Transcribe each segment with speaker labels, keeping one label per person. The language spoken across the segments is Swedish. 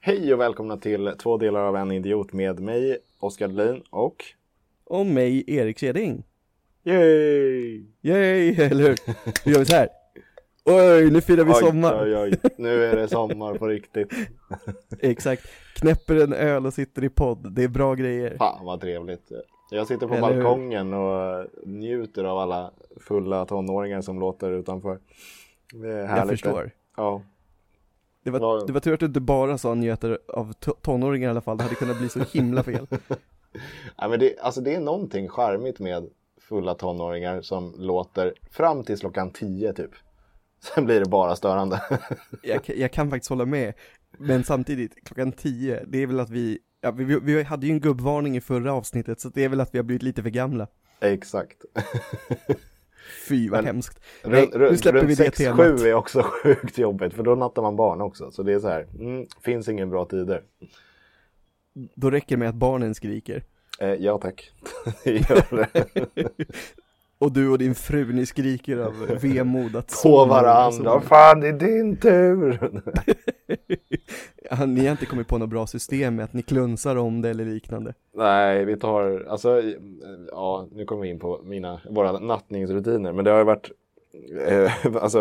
Speaker 1: Hej och välkomna till två delar av en idiot med mig, Oskar Dahlin och...
Speaker 2: Och mig, Erik Seding.
Speaker 1: Yay!
Speaker 2: Yay, eller hur? Nu gör vi så här. Oj, nu firar vi
Speaker 1: Oj,
Speaker 2: sommar.
Speaker 1: Oj, oj. Nu är det sommar på riktigt.
Speaker 2: Exakt. Knäpper en öl och sitter i podd. Det är bra grejer.
Speaker 1: Fan vad trevligt. Jag sitter på
Speaker 2: Eller hur?
Speaker 1: balkongen och njuter av alla fulla tonåringar som låter utanför. Det är härligt.
Speaker 2: Jag förstår.
Speaker 1: Ja.
Speaker 2: Det
Speaker 1: Ja.
Speaker 2: var, det var tur att du inte bara sa njöter av to- tonåringar i alla fall. Det hade kunnat bli så himla fel.
Speaker 1: Nej, men det, alltså, det är någonting charmigt med fulla tonåringar som låter fram till klockan 10 typ. Sen blir det bara störande.
Speaker 2: Jag, kan- jag kan faktiskt hålla med. Men samtidigt, klockan tio, det är väl att vi, ja, vi, vi, vi hade ju en gubbvarning i förra avsnittet, så det är väl att vi har blivit lite för gamla.
Speaker 1: Exakt.
Speaker 2: Fy vad
Speaker 1: Men-
Speaker 2: hemskt. Nej,
Speaker 1: Runt,
Speaker 2: nu släpper
Speaker 1: runt
Speaker 2: vi det
Speaker 1: 6-7
Speaker 2: temat.
Speaker 1: är också sjukt jobbigt för då nattar man barn också. Så det är så här, mm, finns ingen bra tider.
Speaker 2: Då räcker det med att barnen skriker.
Speaker 1: Eh, ja tack, det gör det.
Speaker 2: Och du och din fru, ni skriker av vemod att
Speaker 1: På
Speaker 2: sonen-
Speaker 1: varandra,
Speaker 2: sonen-
Speaker 1: fan det är din tur!
Speaker 2: Ja, Ni har inte kommit på något bra system med att ni klunsar om det eller liknande.
Speaker 1: Nej, vi tar, alltså, ja, nu kommer vi in på mina, våra nattningsrutiner, men det har ju varit, eh, alltså,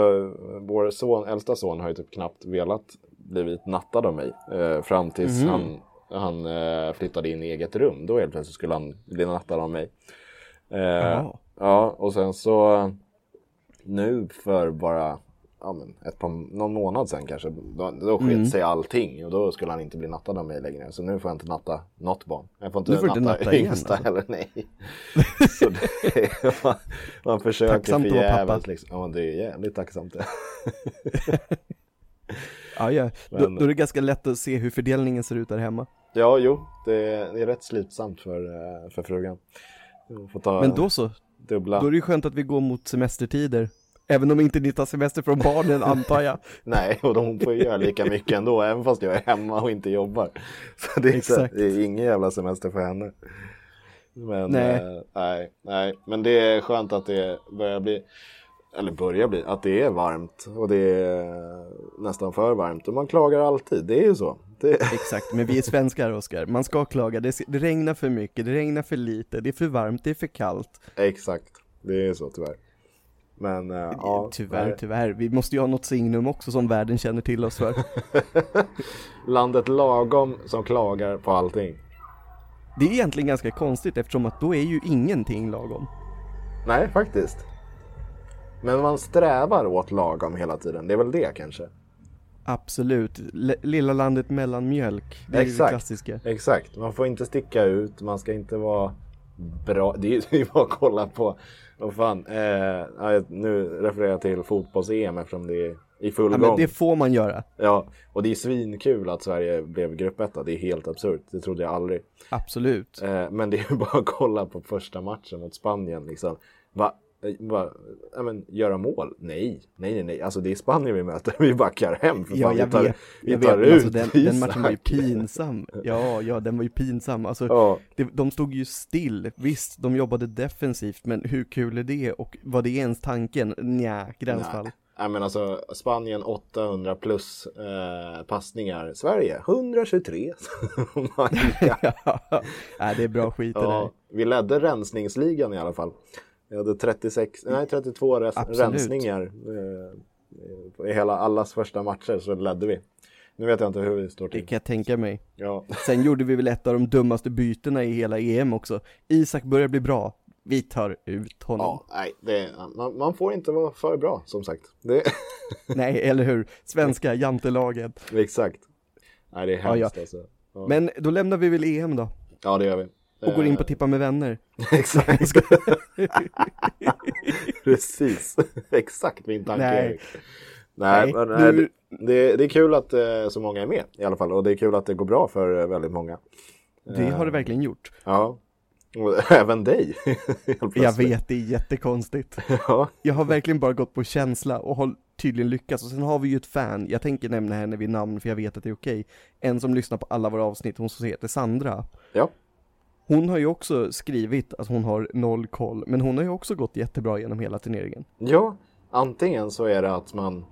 Speaker 1: vår son, äldsta son har ju typ knappt velat blivit nattad av mig eh, fram tills
Speaker 2: Mhm.
Speaker 1: han, han eh, flyttade in i eget rum. Då helt plötsligt skulle han bli nattad av mig. Eh,
Speaker 2: Jaha.
Speaker 1: Ja, och sen så nu för bara ja, men ett par, någon månad sen kanske, då, då sket
Speaker 2: Mm.
Speaker 1: sig allting och då skulle han inte bli nattad av mig längre. Så nu får jag inte natta något barn. Jag får inte
Speaker 2: Nu får du
Speaker 1: natta,
Speaker 2: inte natta igen,
Speaker 1: yngsta
Speaker 2: alltså.
Speaker 1: heller, nej. Så det, man, man försöker
Speaker 2: Tacksamt att vara
Speaker 1: förgäves
Speaker 2: pappa.
Speaker 1: liksom. Ja, det är jävligt tacksamt det.
Speaker 2: Ja, ja. Då,
Speaker 1: Men-
Speaker 2: då är det ganska lätt att se hur fördelningen ser ut där hemma.
Speaker 1: Ja, jo, det är, det är rätt slitsamt för, eh, för frugan. Hon får ta
Speaker 2: Men då så,
Speaker 1: dubbla.
Speaker 2: då är det ju skönt att vi går mot semestertider. Även om inte ni tar semester från barnen antar jag.
Speaker 1: Nej, och de får ju göra lika mycket ändå, även fast jag är hemma och inte jobbar. Så det är, så,
Speaker 2: Exakt.
Speaker 1: det är ingen jävla semester för henne. Men, nej.
Speaker 2: Nej.
Speaker 1: Eh, nej, nej, men det är skönt att det börjar bli, eller börjar bli, att det är varmt och det är nästan för varmt. Och man klagar alltid, det är ju så. Det,
Speaker 2: Exakt, men vi är svenskar Oskar. Man ska klaga, det, det regnar för mycket, det regnar för lite, det är för varmt, det är för kallt.
Speaker 1: exakt, det är så tyvärr. Men eh, ja,
Speaker 2: tyvärr,
Speaker 1: nej.
Speaker 2: tyvärr. Vi måste ju ha något signum också som världen känner till oss för.
Speaker 1: landet lagom som klagar på allting.
Speaker 2: Det är egentligen ganska konstigt eftersom att då är ju ingenting lagom.
Speaker 1: Nej, faktiskt. Men man strävar åt lagom hela tiden. Det är väl det kanske?
Speaker 2: Absolut, L- lilla landet mellan mjölk, det är ju det
Speaker 1: Exakt.
Speaker 2: klassiska.
Speaker 1: Exakt. Man får inte sticka ut. Man ska inte vara bra. Det är ju bara att kolla på. Vad fan. Eh, ja, jag- nu refererar jag till fotbolls-EM eftersom det är i full
Speaker 2: Ja, men
Speaker 1: gång.
Speaker 2: det får man göra,
Speaker 1: Ja, och det är svinkul att Sverige blev gruppetta. Det är helt absurt. Det trodde jag aldrig.
Speaker 2: absolut.
Speaker 1: Eh, men det är ju bara att kolla på första matchen mot Spanien. Liksom. Va, eh, va, ja, men, göra mål? Nej, nej, nej, nej. Alltså det är Spanien vi möter. Vi backar hem. För
Speaker 2: Ja,
Speaker 1: fan.
Speaker 2: jag
Speaker 1: vi tar,
Speaker 2: vet,
Speaker 1: vi
Speaker 2: jag
Speaker 1: tar
Speaker 2: vet, men alltså
Speaker 1: ut
Speaker 2: den, den matchen var ju
Speaker 1: Isak.
Speaker 2: pinsam. Ja, ja, den var ju pinsam. Alltså,
Speaker 1: Ja,
Speaker 2: det, de stod ju still, visst, de jobbade defensivt, men hur kul är det och var det ens tanken? Nja, gränsfall.
Speaker 1: Nej, men alltså Spanien 800 plus eh, passningar. Sverige Oh 123. Man-
Speaker 2: Nej, det är bra skit det där.
Speaker 1: ja, vi ledde rensningsligan i alla fall. Vi hade 36, nej, 32 res-
Speaker 2: Absolut.
Speaker 1: rensningar. Eh, I hela allas första matcher så ledde vi. Nu vet jag inte hur vi står
Speaker 2: Det
Speaker 1: till.
Speaker 2: kan jag tänka mig.
Speaker 1: Ja,
Speaker 2: Sen gjorde vi väl ett av de dummaste bytena i hela EM också. Isak börjar bli bra. Vi tar ut honom.
Speaker 1: ja nej, det, man, man får inte vara för bra som sagt. Det,
Speaker 2: Nej, eller hur? Svenska jantelaget.
Speaker 1: exakt. Nej, det är
Speaker 2: Ja, ja.
Speaker 1: hemskt alltså. Ja.
Speaker 2: Men då lämnar vi väl EM då
Speaker 1: ja, det gör vi.
Speaker 2: och går in på
Speaker 1: Eh,
Speaker 2: tippa med vänner.
Speaker 1: Exakt. Precis. Exakt min tanke.
Speaker 2: Nej.
Speaker 1: Erik. Nej,
Speaker 2: Nej,
Speaker 1: men, nej,
Speaker 2: nu-
Speaker 1: det- det, det är kul att eh, så många är med i alla fall och det är kul att det går bra för eh, väldigt många.
Speaker 2: Det har det
Speaker 1: Eh.
Speaker 2: verkligen gjort.
Speaker 1: Ja, och även dig. helt
Speaker 2: Jag
Speaker 1: plötsligt.
Speaker 2: vet, det är jättekonstigt.
Speaker 1: Ja,
Speaker 2: Jag har verkligen bara gått på känsla och har tydligen lyckats. Och sen har vi ju ett fan, jag tänker nämna henne vid namn för jag vet att det är okej. En som lyssnar på alla våra avsnitt, hon som heter Sandra.
Speaker 1: ja.
Speaker 2: Hon har ju också skrivit att hon har noll koll, men hon har ju också gått jättebra genom hela turneringen.
Speaker 1: ja, antingen så är det att man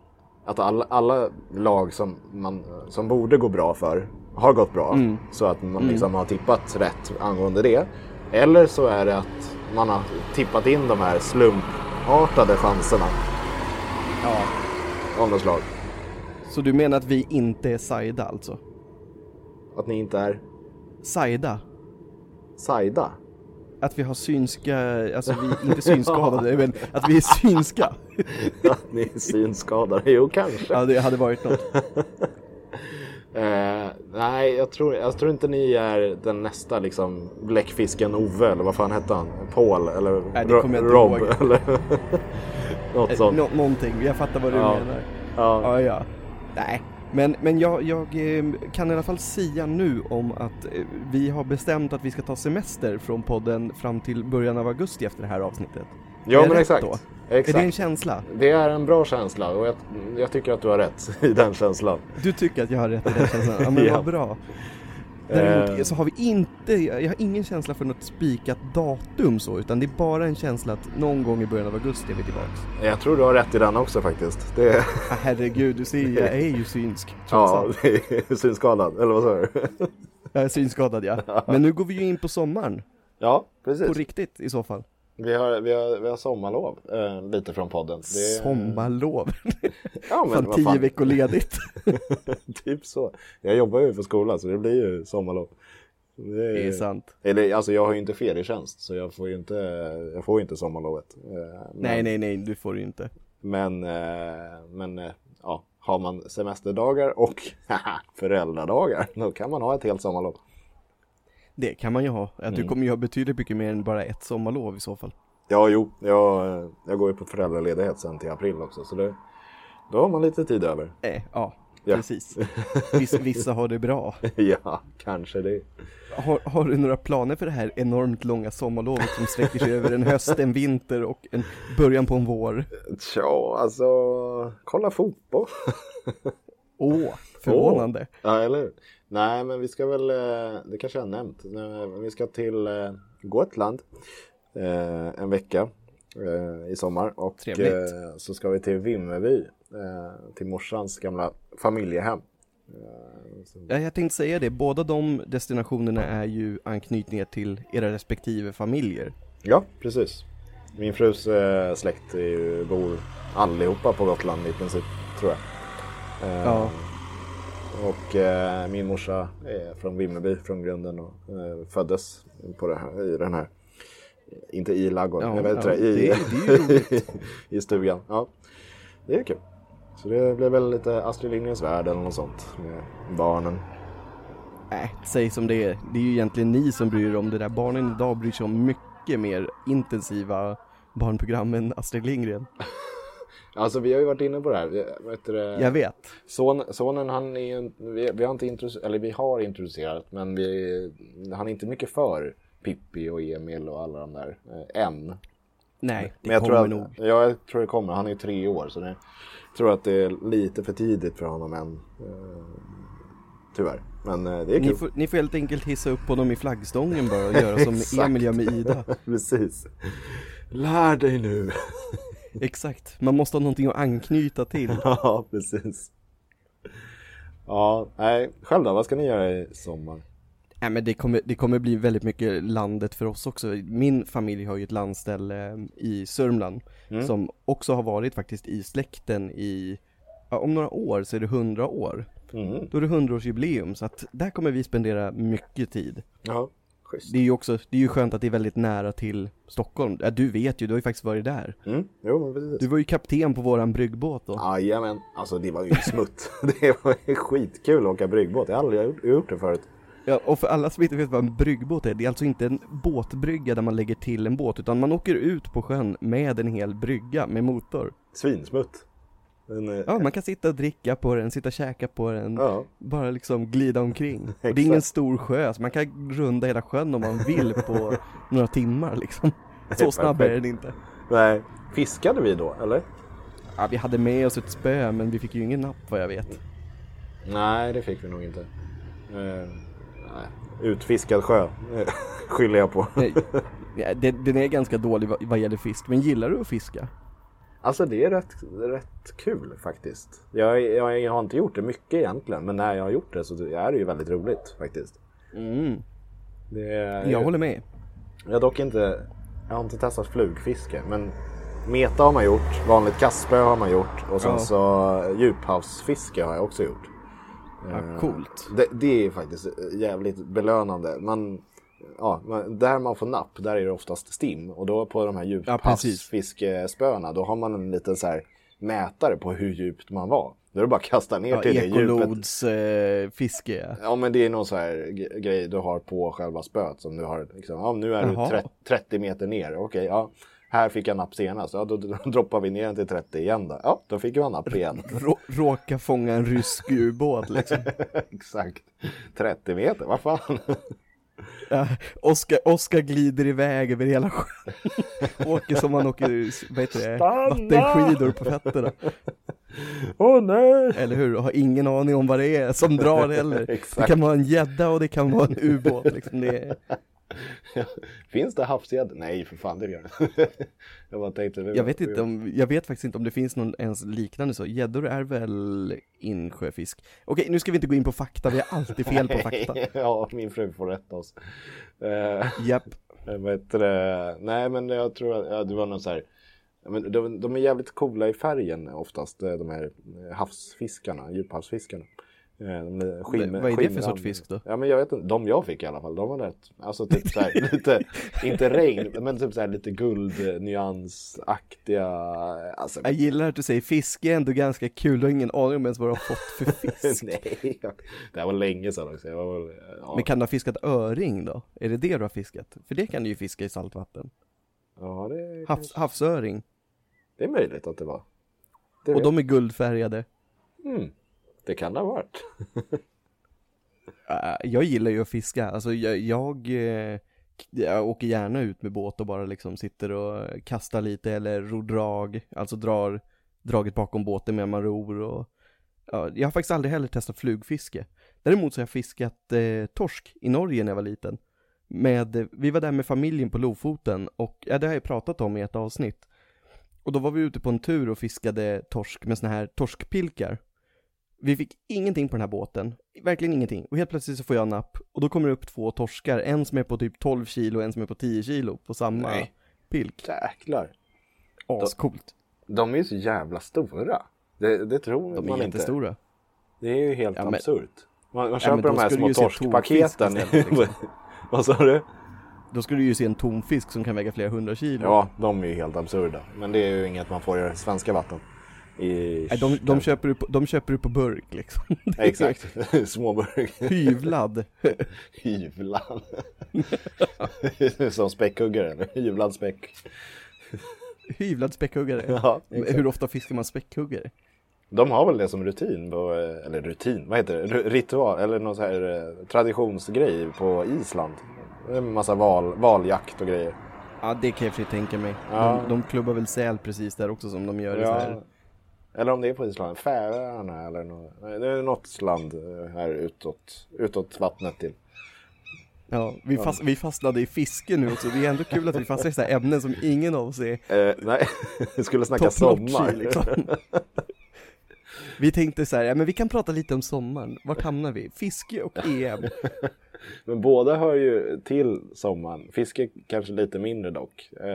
Speaker 1: att alla, alla lag som, man, som borde gå bra för har gått bra.
Speaker 2: Mm.
Speaker 1: Så att man liksom har tippat rätt angående det. Eller så är det att man har tippat in de här slumpartade chanserna
Speaker 2: Ja.
Speaker 1: av något slag.
Speaker 2: Så du menar att vi inte är sajda alltså?
Speaker 1: Att ni inte är
Speaker 2: Sajda?
Speaker 1: sajda.
Speaker 2: Att vi har synska, alltså vi är inte synskadade, men att vi är synska?
Speaker 1: Att ni är synskadade. Jo, kanske.
Speaker 2: Ja, det hade varit något.
Speaker 1: Eh, nej, jag tror, jag tror inte ni är den nästa liksom bläckfisken Ove eller vad fan hette han? Paul eller
Speaker 2: Nej, det
Speaker 1: Ro-
Speaker 2: kommer jag inte
Speaker 1: Rob
Speaker 2: ihåg. Eh,
Speaker 1: eller något sånt.
Speaker 2: Nå- någonting, jag fattar vad du
Speaker 1: Ja.
Speaker 2: menar.
Speaker 1: Ja.
Speaker 2: Ja, ja. Nej, men, men jag, jag eh, kan i alla fall säga nu om att eh, vi har bestämt att vi ska ta semester från podden fram till början av augusti efter det här avsnittet.
Speaker 1: ja,
Speaker 2: är
Speaker 1: men
Speaker 2: rätt
Speaker 1: exakt.
Speaker 2: då? Är
Speaker 1: exakt.
Speaker 2: det en känsla?
Speaker 1: det... är en bra känsla och jag, jag tycker att du har rätt i den känslan.
Speaker 2: Du tycker att jag har rätt i den känslan? Ja, men
Speaker 1: Ja.
Speaker 2: vad bra.
Speaker 1: Eh.
Speaker 2: Däremot så har vi inte, jag har ingen känsla för något spikat datum så, utan det är bara en känsla att någon gång i början av augusti är vi tillbaks.
Speaker 1: Jag tror du har rätt i den också faktiskt. Det,
Speaker 2: Ah, herregud, du ser ju, jag är ju synsk. trots
Speaker 1: ja,
Speaker 2: allt.
Speaker 1: det är synskadad, eller vad sa du?
Speaker 2: Jag är synskadad ja. Men nu går vi ju in på sommaren,
Speaker 1: Ja,
Speaker 2: på
Speaker 1: precis.
Speaker 2: riktigt i så fall.
Speaker 1: Vi har, vi har, vi har sommarlov eh, lite från podden. Det-
Speaker 2: Sommarlov.
Speaker 1: Ja, men
Speaker 2: Fan,
Speaker 1: vad
Speaker 2: tio
Speaker 1: fan.
Speaker 2: veckor ledigt.
Speaker 1: Typ så. Jag jobbar ju för skolan så det blir ju sommarlov. Det är-
Speaker 2: Det är sant.
Speaker 1: Eller alltså jag har ju inte ferietjänst så jag får ju inte, jag får ju inte sommarlovet. Eh, Men,
Speaker 2: Nej, nej, nej, du får det ju inte.
Speaker 1: Men, eh, men eh, ja, har man semesterdagar och föräldradagar då kan man ha ett helt sommarlov.
Speaker 2: Det kan man ju ha. Att Du kommer ju ha betydligt mycket mer än bara ett sommarlov i så fall.
Speaker 1: Ja, jo, jag, eh, jag går ju på föräldraledighet sen till april också så det, då har man lite tid över.
Speaker 2: Eh, ja,
Speaker 1: Ja.
Speaker 2: precis. Vissa, vissa har det bra.
Speaker 1: ja, kanske det.
Speaker 2: Har, har du några planer för det här enormt långa sommarlovet som sträcker sig över en höst, en vinter och en början på en vår?
Speaker 1: Tja, alltså, kolla fotboll.
Speaker 2: Åh, förvånande.
Speaker 1: Ja, eller hur? Nej, men vi ska väl, eh, det kanske jag har nämnt, Nej, men vi ska till eh, Gotland eh, en vecka eh, i sommar. Och
Speaker 2: Trevligt.
Speaker 1: eh, så ska vi till Vimmerby, eh, till morsans gamla familjehem.
Speaker 2: Ja, jag tänkte säga det, båda de destinationerna är ju anknytningar till era respektive familjer.
Speaker 1: Ja, precis. Min frus eh, släkt är ju, bor allihopa på Gotland i princip, tror jag. Eh,
Speaker 2: Ja,
Speaker 1: Och eh, min morsa är från Vimmerby från grunden och eh, föddes på det här, i den här, eh, inte i ladugården,
Speaker 2: Ja,
Speaker 1: jag vet inte,
Speaker 2: ja,
Speaker 1: i,
Speaker 2: det är- det är ju
Speaker 1: i stugan. Ja, det är kul. Så det blev väl lite Astrid Lindgrens Värld eller något sånt med barnen.
Speaker 2: nej, Äh, säg som det är. Det är ju egentligen ni som bryr er om det där. Barnen idag bryr sig om mycket mer intensiva barnprogram än Astrid Lindgren.
Speaker 1: Alltså vi har ju varit inne på det här. Vi, vad heter det?
Speaker 2: Jag vet.
Speaker 1: Son, sonen han är ju, en- vi, vi har inte introducerat, eller vi har introducerat, men vi, han är inte mycket för Pippi och Emil och alla de där eh, än.
Speaker 2: Nej, det
Speaker 1: Men jag
Speaker 2: kommer
Speaker 1: tror att,
Speaker 2: nog.
Speaker 1: Ja, jag tror det kommer. Han är ju tre år, så det, jag tror att det är lite för tidigt för honom än. Eh, tyvärr. Men eh, det är
Speaker 2: Ni
Speaker 1: kul.
Speaker 2: får, ni får helt enkelt hissa upp på dem i flaggstången bara och göra som
Speaker 1: Exakt.
Speaker 2: Emil gör med Ida.
Speaker 1: Precis. Lär dig nu.
Speaker 2: Exakt, man måste ha någonting att anknyta till.
Speaker 1: ja, precis. Ja, nej. Själv då? Vad ska ni göra i sommar?
Speaker 2: Nej men det kommer, det kommer bli väldigt mycket landet för oss också. Min familj har ju ett landställe mm, i Sörmland som också har varit faktiskt i släkten i, ja, om några år så är det 100 år.
Speaker 1: Mm.
Speaker 2: Då är det 100-årsjubileum så att där kommer vi spendera mycket tid.
Speaker 1: Ja, schysst.
Speaker 2: Det är ju också, det är ju skönt att det är väldigt nära till Stockholm. Ja, du vet ju, du har ju faktiskt varit där.
Speaker 1: Mm. Jo, men precis.
Speaker 2: Du var ju kapten på våran bryggbåt då.
Speaker 1: Jajamän, alltså det var ju smutt. det var ju skitkul att åka bryggbåt. Jag har aldrig gjort- gjort det förut.
Speaker 2: Ja, och för alla som inte vet vad en bryggbåt är, det är alltså inte en båtbrygga där man lägger till en båt, utan man åker ut på sjön med en hel brygga med motor.
Speaker 1: Svinsmutt. Men, eh,
Speaker 2: Ja, man kan sitta och dricka på den, sitta och käka på den,
Speaker 1: ja.
Speaker 2: bara liksom glida omkring. Och det är ingen stor sjö, så man kan runda hela sjön om man vill på några timmar liksom. Så snabb är den inte.
Speaker 1: Nej. Fiskade vi då, eller?
Speaker 2: Ja, vi hade med oss ett spö, men vi fick ju ingen napp vad jag vet.
Speaker 1: Nej, det fick vi nog inte. Eh, nej. Utfiskad sjö eh, skyller jag på.
Speaker 2: Nej, ja, det- den är ganska dålig vad- vad gäller fisk, men gillar du att fiska?
Speaker 1: Alltså det är rätt, rätt kul faktiskt. Jag, jag, jag har inte gjort det mycket egentligen, men när jag har gjort det så är det ju väldigt roligt faktiskt.
Speaker 2: Mm.
Speaker 1: Det är,
Speaker 2: Jag håller med.
Speaker 1: Jag har dock inte, jag har inte testat flugfiske, men meta har man gjort, vanligt kastspö har man gjort och sen
Speaker 2: Ja.
Speaker 1: så djuphavsfiske har jag också gjort.
Speaker 2: Ja, coolt.
Speaker 1: Det, det är faktiskt eh, jävligt belönande. Man, ja, man, där man får napp, där är det oftast stim. Och då på de här
Speaker 2: precis.
Speaker 1: djuphavsfiskespöna, då har man en liten så här mätare på hur djupt man var. Då är det bara att kasta ner
Speaker 2: Ja,
Speaker 1: till det djupet.
Speaker 2: ekolods eh, fiske. ja.
Speaker 1: Ja men det är någon så här ge- grej du har på själva spöet som du har liksom, ja nu är du
Speaker 2: Jaha.
Speaker 1: tre- 30 meter ner, okej ja. Här fick jag napp senast, ja då, då droppar vi ner den till 30 igen då. Ja, då fick man napp igen.
Speaker 2: Rå, råka fånga en rysk ubåt liksom.
Speaker 1: Exakt. 30 meter, vad fan.
Speaker 2: Ja, Oskar, Oskar glider iväg över hela sjön. åker som han åker, vad heter det,
Speaker 1: Stanna!
Speaker 2: vattenskidor på fötterna.
Speaker 1: Åh nej!
Speaker 2: Eller hur, och har ingen aning om vad det är som drar heller. Det
Speaker 1: Exakt.
Speaker 2: kan vara en gädda och det kan vara en ubåt liksom. Det är...
Speaker 1: Finns det havsgädda? Nej för fan det gör det Jag bara tänkte.
Speaker 2: Jag vet inte om, jag vet faktiskt inte om det finns någon ens liknande så, gäddor är väl insjöfisk. Okej, nu ska vi inte gå in på fakta, vi har alltid fel på fakta.
Speaker 1: ja, min fru får rätta oss. Eh,
Speaker 2: Japp,
Speaker 1: Eh, Vad heter det? Nej, men jag tror att ja, det var någon så här. ja, Men de, de är jävligt coola i färgen oftast, eh, de här eh, havsfiskarna, djuphavsfiskarna. Eh, De är skimmer,
Speaker 2: vad är det för
Speaker 1: skimrande.
Speaker 2: sorts fisk då?
Speaker 1: Ja, men jag vet inte. De jag fick i alla fall, de var rätt, alltså typ så här, lite, inte regn, men typ så här lite guldnyansaktiga, alltså.
Speaker 2: Jag gillar att du säger fiske är ändå ganska kul, du har ingen aning om ens vad du har fått för fisk.
Speaker 1: Nej, jag- det här var länge sedan också. Jag var, väl- ja,
Speaker 2: Men kan du ha fiskat öring då? Är det det du har fiskat? För det kan du ju fiska i saltvatten.
Speaker 1: ja det,
Speaker 2: Havs, havsöring.
Speaker 1: det är möjligt att det var. Det,
Speaker 2: Och
Speaker 1: vet-
Speaker 2: de är guldfärgade.
Speaker 1: mm, det kan det ha varit.
Speaker 2: Äh, Jag gillar ju att fiska, alltså jag, jag, eh, k- jag åker gärna ut med båt och bara liksom sitter och kastar lite eller ror drag, alltså drar draget bakom båten medan man ror och ja, jag har faktiskt aldrig heller testat flugfiske. Däremot så har jag fiskat eh, torsk i Norge när jag var liten. Med, vi var där med familjen på Lofoten och, ja det har jag pratat om i ett avsnitt. Och då var vi ute på en tur och fiskade torsk med såna här torskpilkar. Vi fick ingenting på den här båten, verkligen ingenting. Och helt plötsligt så får jag napp och då kommer det upp två torskar, en som är på typ 12 kilo och en som är på 10 kilo på samma
Speaker 1: Nej.
Speaker 2: pilk.
Speaker 1: Jäklar.
Speaker 2: Ascoolt.
Speaker 1: De är ju så jävla stora. Det, det tror
Speaker 2: De
Speaker 1: man
Speaker 2: är
Speaker 1: inte.
Speaker 2: jättestora.
Speaker 1: Det är ju helt
Speaker 2: Ja, men-
Speaker 1: absurt. Man, man
Speaker 2: men
Speaker 1: köper
Speaker 2: då
Speaker 1: de här
Speaker 2: ska du
Speaker 1: små
Speaker 2: ju se
Speaker 1: torskpaketen.
Speaker 2: tonfisk istället, liksom.
Speaker 1: Vad sa du?
Speaker 2: Då skulle du ju se en tom fisk som kan väga flera hundra kilo.
Speaker 1: Ja, de är ju helt absurda. Men det är ju inget man får i svenska vatten. I...
Speaker 2: Nej, de, de, köper du på, de köper du på burk liksom.
Speaker 1: Ja, Exakt. Småburk.
Speaker 2: Hyvlad.
Speaker 1: Hyvlad. Som späckhuggare. eller? Hyvlad späck.
Speaker 2: Hyvlad späckhuggare.
Speaker 1: Ja, exakt.
Speaker 2: Hur ofta fiskar man späckhuggare?
Speaker 1: de har väl det som rutin, på, eh, eller rutin, vad heter det? Ru- Ritual, eller någon så här eh, traditionsgrej på Island. Det är En massa val, valjakt och grejer.
Speaker 2: Ja, det kan jag för sig tänka mig.
Speaker 1: Ja.
Speaker 2: De, de klubbar väl säl precis där också som de gör i så här.
Speaker 1: Eller om det är på Island. Färöarna eller något. Nej, Det är något land eh, här utåt, utåt vattnet till.
Speaker 2: Ja, vi, fast, vi fastnade i fiske nu också. Det är ändå kul att vi fastnar i så här ämnen som ingen av oss är
Speaker 1: Eh, nej, vi skulle snacka
Speaker 2: top
Speaker 1: sommar.
Speaker 2: notch i liksom. Vi tänkte så här, ja men vi kan prata lite om sommaren. Vart hamnar vi? Fiske och EM.
Speaker 1: Men båda hör ju till sommaren. Fiske kanske lite mindre dock. Eh,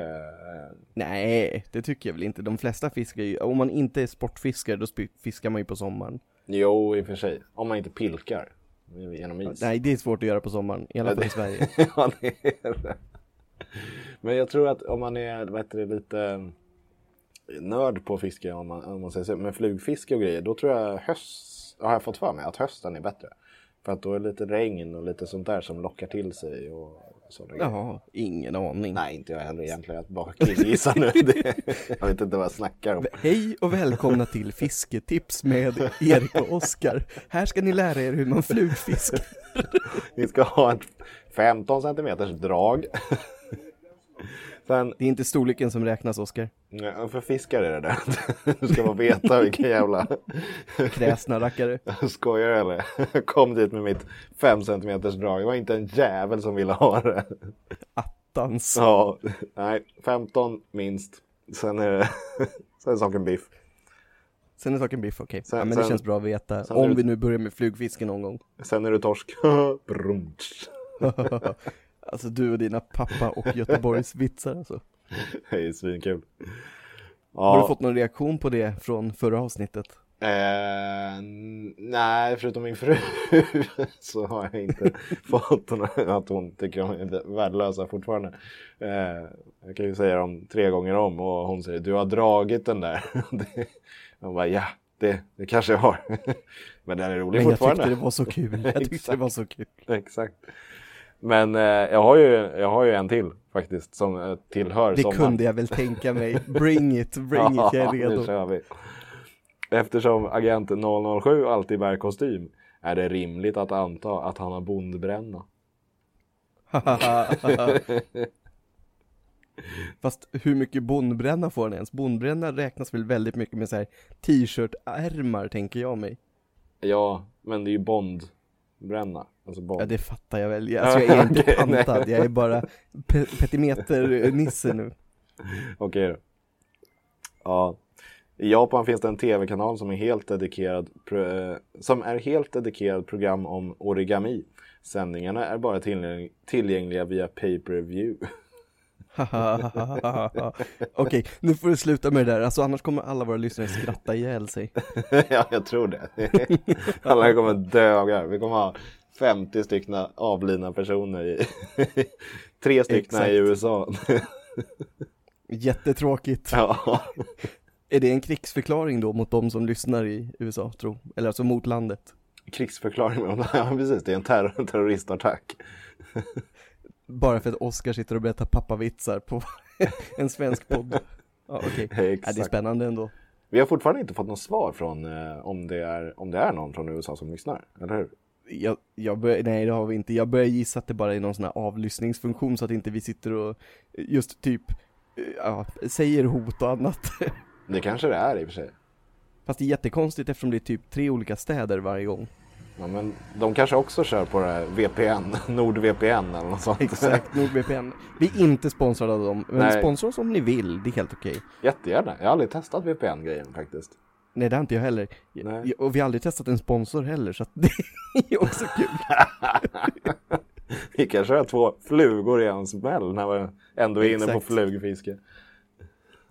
Speaker 2: Nej, det tycker jag väl inte. De flesta fiskar ju, om man inte är sportfiskare då spi- fiskar man ju på sommaren.
Speaker 1: jo, i och för sig. Om man inte pilkar genom is.
Speaker 2: Nej, det är svårt att göra på sommaren, i alla fall i Sverige.
Speaker 1: ja, det är det. Men jag tror att om man är vad heter det, lite nörd på fiske, om man, om man säger så, men flugfiske och grejer, då tror jag höst, har jag fått för mig, att hösten är bättre. För att då är det lite regn och lite sånt där som lockar till sig och sådana grejer.
Speaker 2: Jaha, ingen aning.
Speaker 1: Nej, inte jag heller egentligen. Jag bara killgissar nu. Det, jag vet inte vad jag snackar om.
Speaker 2: Hej och välkomna till Fisketips med Erik och Oskar. Här ska ni lära er hur man flugfiskar.
Speaker 1: Ni ska ha ett 15 centimeters drag. Sen
Speaker 2: Det är inte storleken som räknas, Oskar.
Speaker 1: Ja, för fiskar är det där. Du ska bara veta vilken jävla
Speaker 2: Kräsna rackare.
Speaker 1: skojar du eller? Jag kom dit med mitt 5 cm drag. Det var inte en jävel som ville ha det.
Speaker 2: Attans.
Speaker 1: Ja, nej, 15 minst. Sen är, det, sen är saken biff.
Speaker 2: Sen är saken biff, okej.
Speaker 1: Sen-
Speaker 2: Ja, men det
Speaker 1: sen-
Speaker 2: känns bra att veta.
Speaker 1: sen
Speaker 2: Om
Speaker 1: är det-
Speaker 2: vi nu börjar med flugfiske någon gång.
Speaker 1: Sen är det torsk. Brumtsch.
Speaker 2: alltså du och dina pappa och Göteborgs vitsar alltså.
Speaker 1: Det är svinkul.
Speaker 2: Har du
Speaker 1: Ja,
Speaker 2: fått någon reaktion på det från förra avsnittet?
Speaker 1: eh, n- nej, förutom min fru så har jag inte fått hon, att hon tycker de är värdelösa fortfarande. Eh, jag kan ju säga dem tre gånger om och hon säger du har dragit den där. Det- jag bara ja, det, det kanske jag har. Men den är rolig
Speaker 2: Men jag
Speaker 1: fortfarande.
Speaker 2: tyckte det var så kul. Jag tyckte det
Speaker 1: Exakt.
Speaker 2: var så kul.
Speaker 1: Exakt. Men eh, jag, har ju, jag har ju en till faktiskt som eh, tillhör
Speaker 2: Det
Speaker 1: sommaren.
Speaker 2: kunde jag väl tänka mig. Bring it, bring it, jag är
Speaker 1: nu
Speaker 2: redo.
Speaker 1: kör vi. Eftersom agent 007 alltid bär kostym är det rimligt att anta att han har bondbränna.
Speaker 2: Fast hur mycket bondbränna får han ens? Bondbränna räknas väl väldigt mycket med så här t-shirt-ärmar tänker jag mig.
Speaker 1: Ja, men det är ju bondbränna. Alltså bond.
Speaker 2: Ja det fattar jag väl, alltså jag är inte
Speaker 1: Okej, nej.
Speaker 2: pantad, jag är bara pe- petimeter-nisse nu.
Speaker 1: Okej då. Ja. I Japan finns det en tv-kanal som är helt dedikerad pro- eh, som är helt dedikerad program om origami. Sändningarna är bara tillgäng- tillgängliga via pay-per-view.
Speaker 2: Okej, nu får du sluta med det där, alltså annars kommer alla våra lyssnare skratta ihjäl sig.
Speaker 1: ja, jag tror det. Alla kommer dö av garv. Vi kommer ha 50 stycken avlidna personer i... Tre stycken
Speaker 2: Exakt.
Speaker 1: i USA.
Speaker 2: Jättetråkigt.
Speaker 1: ja.
Speaker 2: Är det en krigsförklaring då mot de som lyssnar i USA, tro? Eller alltså mot landet?
Speaker 1: Krigsförklaring. med dem. ja, precis. Det är en terror- terroristattack.
Speaker 2: Bara för att Oscar sitter och berättar pappavitsar på en svensk podd. Ja, okej. Ja,
Speaker 1: Exakt.
Speaker 2: det är spännande ändå.
Speaker 1: Vi har fortfarande inte fått något svar från eh, om, det är, om det är någon från USA som lyssnar, eller hur?
Speaker 2: Jag, jag bör, nej, det har vi inte. Jag börjar gissa att det bara är någon sån här avlyssningsfunktion så att inte vi sitter och just typ ja, säger hot och annat.
Speaker 1: Det kanske det är i och för sig.
Speaker 2: Fast det är jättekonstigt eftersom det är typ tre olika städer varje gång.
Speaker 1: Ja, men de kanske också kör på det här VPN, NordVPN eller något sånt.
Speaker 2: Exakt, NordVPN. Vi är inte sponsrade av dem, men
Speaker 1: Nej.
Speaker 2: sponsra oss om ni vill, det är helt okej.
Speaker 1: Jättegärna. Jag har aldrig testat VPN-grejen faktiskt.
Speaker 2: Nej, det har inte jag heller.
Speaker 1: Nej.
Speaker 2: Och vi har aldrig testat en sponsor heller, så att det är också kul.
Speaker 1: Vi kan köra två flugor i en smäll när vi ändå är inne på
Speaker 2: Exakt.
Speaker 1: flugfiske.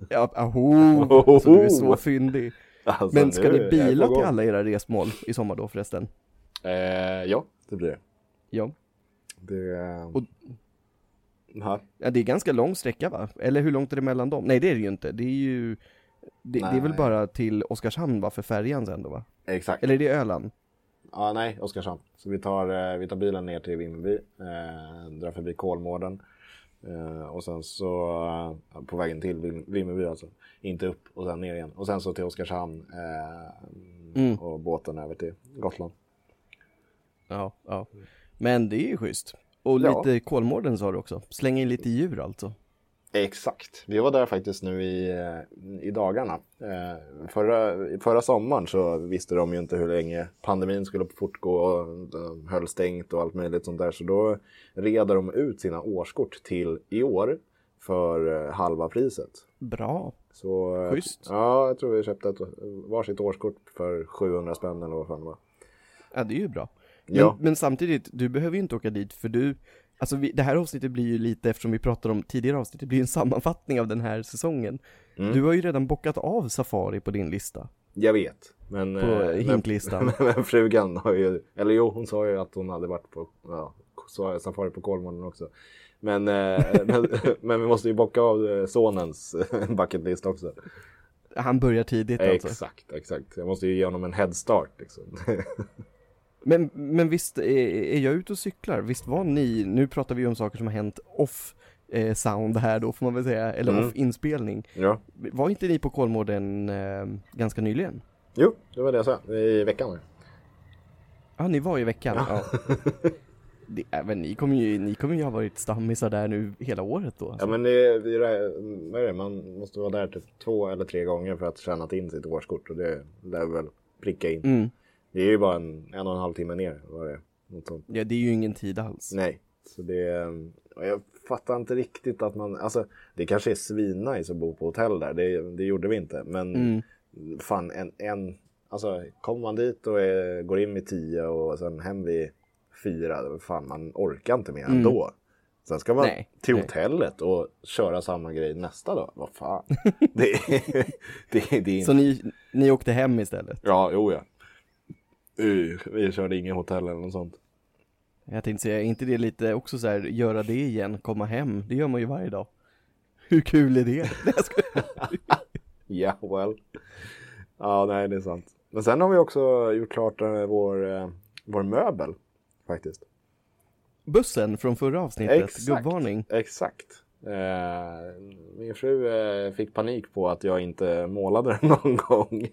Speaker 2: Ja, aho, så du är så fyndig.
Speaker 1: Alltså,
Speaker 2: Men ska
Speaker 1: nu
Speaker 2: ni
Speaker 1: är jag
Speaker 2: bila
Speaker 1: på
Speaker 2: till
Speaker 1: gång.
Speaker 2: alla era resmål i sommar då förresten?
Speaker 1: Eh, ja, det blir det.
Speaker 2: Ja.
Speaker 1: det eh,
Speaker 2: Och-
Speaker 1: ja,
Speaker 2: ja, det är ganska lång sträcka va? Eller hur långt är det mellan dem? Nej, det är det ju inte. Det är ju, det, det är väl
Speaker 1: Nej.
Speaker 2: bara till Oskarshamn va, för färjan sen då va?
Speaker 1: exakt.
Speaker 2: Eller är det Öland?
Speaker 1: Ja, nej, Oskarshamn. Så vi tar, eh, vi tar bilen ner till Vimmerby, eh, drar förbi Kolmården. Eh, och sen så, eh, på vägen till Vim- Vimmerby alltså, inte upp och sen ner igen. Och sen så till Oskarshamn eh,
Speaker 2: Mm.
Speaker 1: och båten över till Gotland.
Speaker 2: Ja, ja. Men det är ju schysst. Och
Speaker 1: Ja.
Speaker 2: lite Kolmården sa du också. Släng in lite djur alltså.
Speaker 1: Exakt. Vi var där faktiskt nu i, eh, i dagarna. Eh, Förra, förra sommaren så visste de ju inte hur länge pandemin skulle fortgå och de höll stängt och allt möjligt sånt där. Så då red de ut sina årskort till i år för eh, halva priset.
Speaker 2: Bra.
Speaker 1: Så, eh,
Speaker 2: Schysst.
Speaker 1: Ja, jag tror vi köpte ett eh, varsitt årskort för 700 spänn eller vad fan det var.
Speaker 2: Ja, det är ju bra. Men,
Speaker 1: Ja.
Speaker 2: men samtidigt, du behöver ju inte åka dit för du, alltså vi, det här avsnittet blir ju lite, eftersom vi pratade om tidigare avsnitt, det blir ju en sammanfattning av den här säsongen.
Speaker 1: Mm.
Speaker 2: Du har ju redan bockat av Safari på din lista,
Speaker 1: Jag vet. Men,
Speaker 2: på
Speaker 1: eh, men,
Speaker 2: hinklistan.
Speaker 1: men frugan har ju, eller jo hon sa ju att hon hade varit på ja, sa- safari på Kolmården också. Men, eh, men, men vi måste ju bocka av eh, sonens eh, bucketlist också. Eh,
Speaker 2: Han börjar tidigt alltså.
Speaker 1: Exakt, exakt. Jag måste ju ge honom en headstart. Liksom.
Speaker 2: Men, men visst, är, är jag ute och cyklar? Visst var ni, nu pratar vi ju om saker som har hänt off eh, sound här då får man väl säga, eller
Speaker 1: Mm.
Speaker 2: off inspelning.
Speaker 1: ja.
Speaker 2: Var inte ni på Kolmården eh, ganska nyligen?
Speaker 1: Jo, det var det jag sa i veckan. här.
Speaker 2: Ja, ni var i veckan. Ja. Det, även ni kommer ju, ni kommer ju ha varit stammisar där nu hela året då.
Speaker 1: Ja,
Speaker 2: Alltså.
Speaker 1: men det, det, är- vad är det? Man måste vara där typ två eller tre gånger för att tjäna in sitt årskort och det lär väl pricka in.
Speaker 2: Mm.
Speaker 1: Det är ju bara en, en och en halv timme ner. Var det? är. Något sånt.
Speaker 2: Ja, det är ju ingen tid alls.
Speaker 1: Nej, Så det, och jag fattar inte riktigt att man, alltså det kanske är svinnice att bo på hotell där, det, det gjorde vi inte. Men
Speaker 2: Mm.
Speaker 1: fan, en, en, alltså kommer man dit och är, går in vid tio och sen hem vid fyra, då fan man orkar inte mer ändå. Sen ska man
Speaker 2: Mm. Nej,
Speaker 1: till
Speaker 2: nej.
Speaker 1: hotellet och köra samma grej nästa dag. Vad fan. det, är- det, är- det är
Speaker 2: Så ni, ni åkte hem istället?
Speaker 1: Ja, jo ja. Uh, vi körde inget hotell eller något sånt.
Speaker 2: Jag tänkte säga, är inte det lite också så här, göra det igen, komma hem, det gör man ju varje dag. Hur kul är det? Nej, jag skojar.
Speaker 1: Ja, well. Ja, nej, det är sant. Men sen har vi också gjort klart eh, vår, eh, vår möbel faktiskt.
Speaker 2: Bussen från förra avsnittet, gubbvarning.
Speaker 1: Exakt. Eh, min fru eh, fick panik på att jag inte målade den någon gång.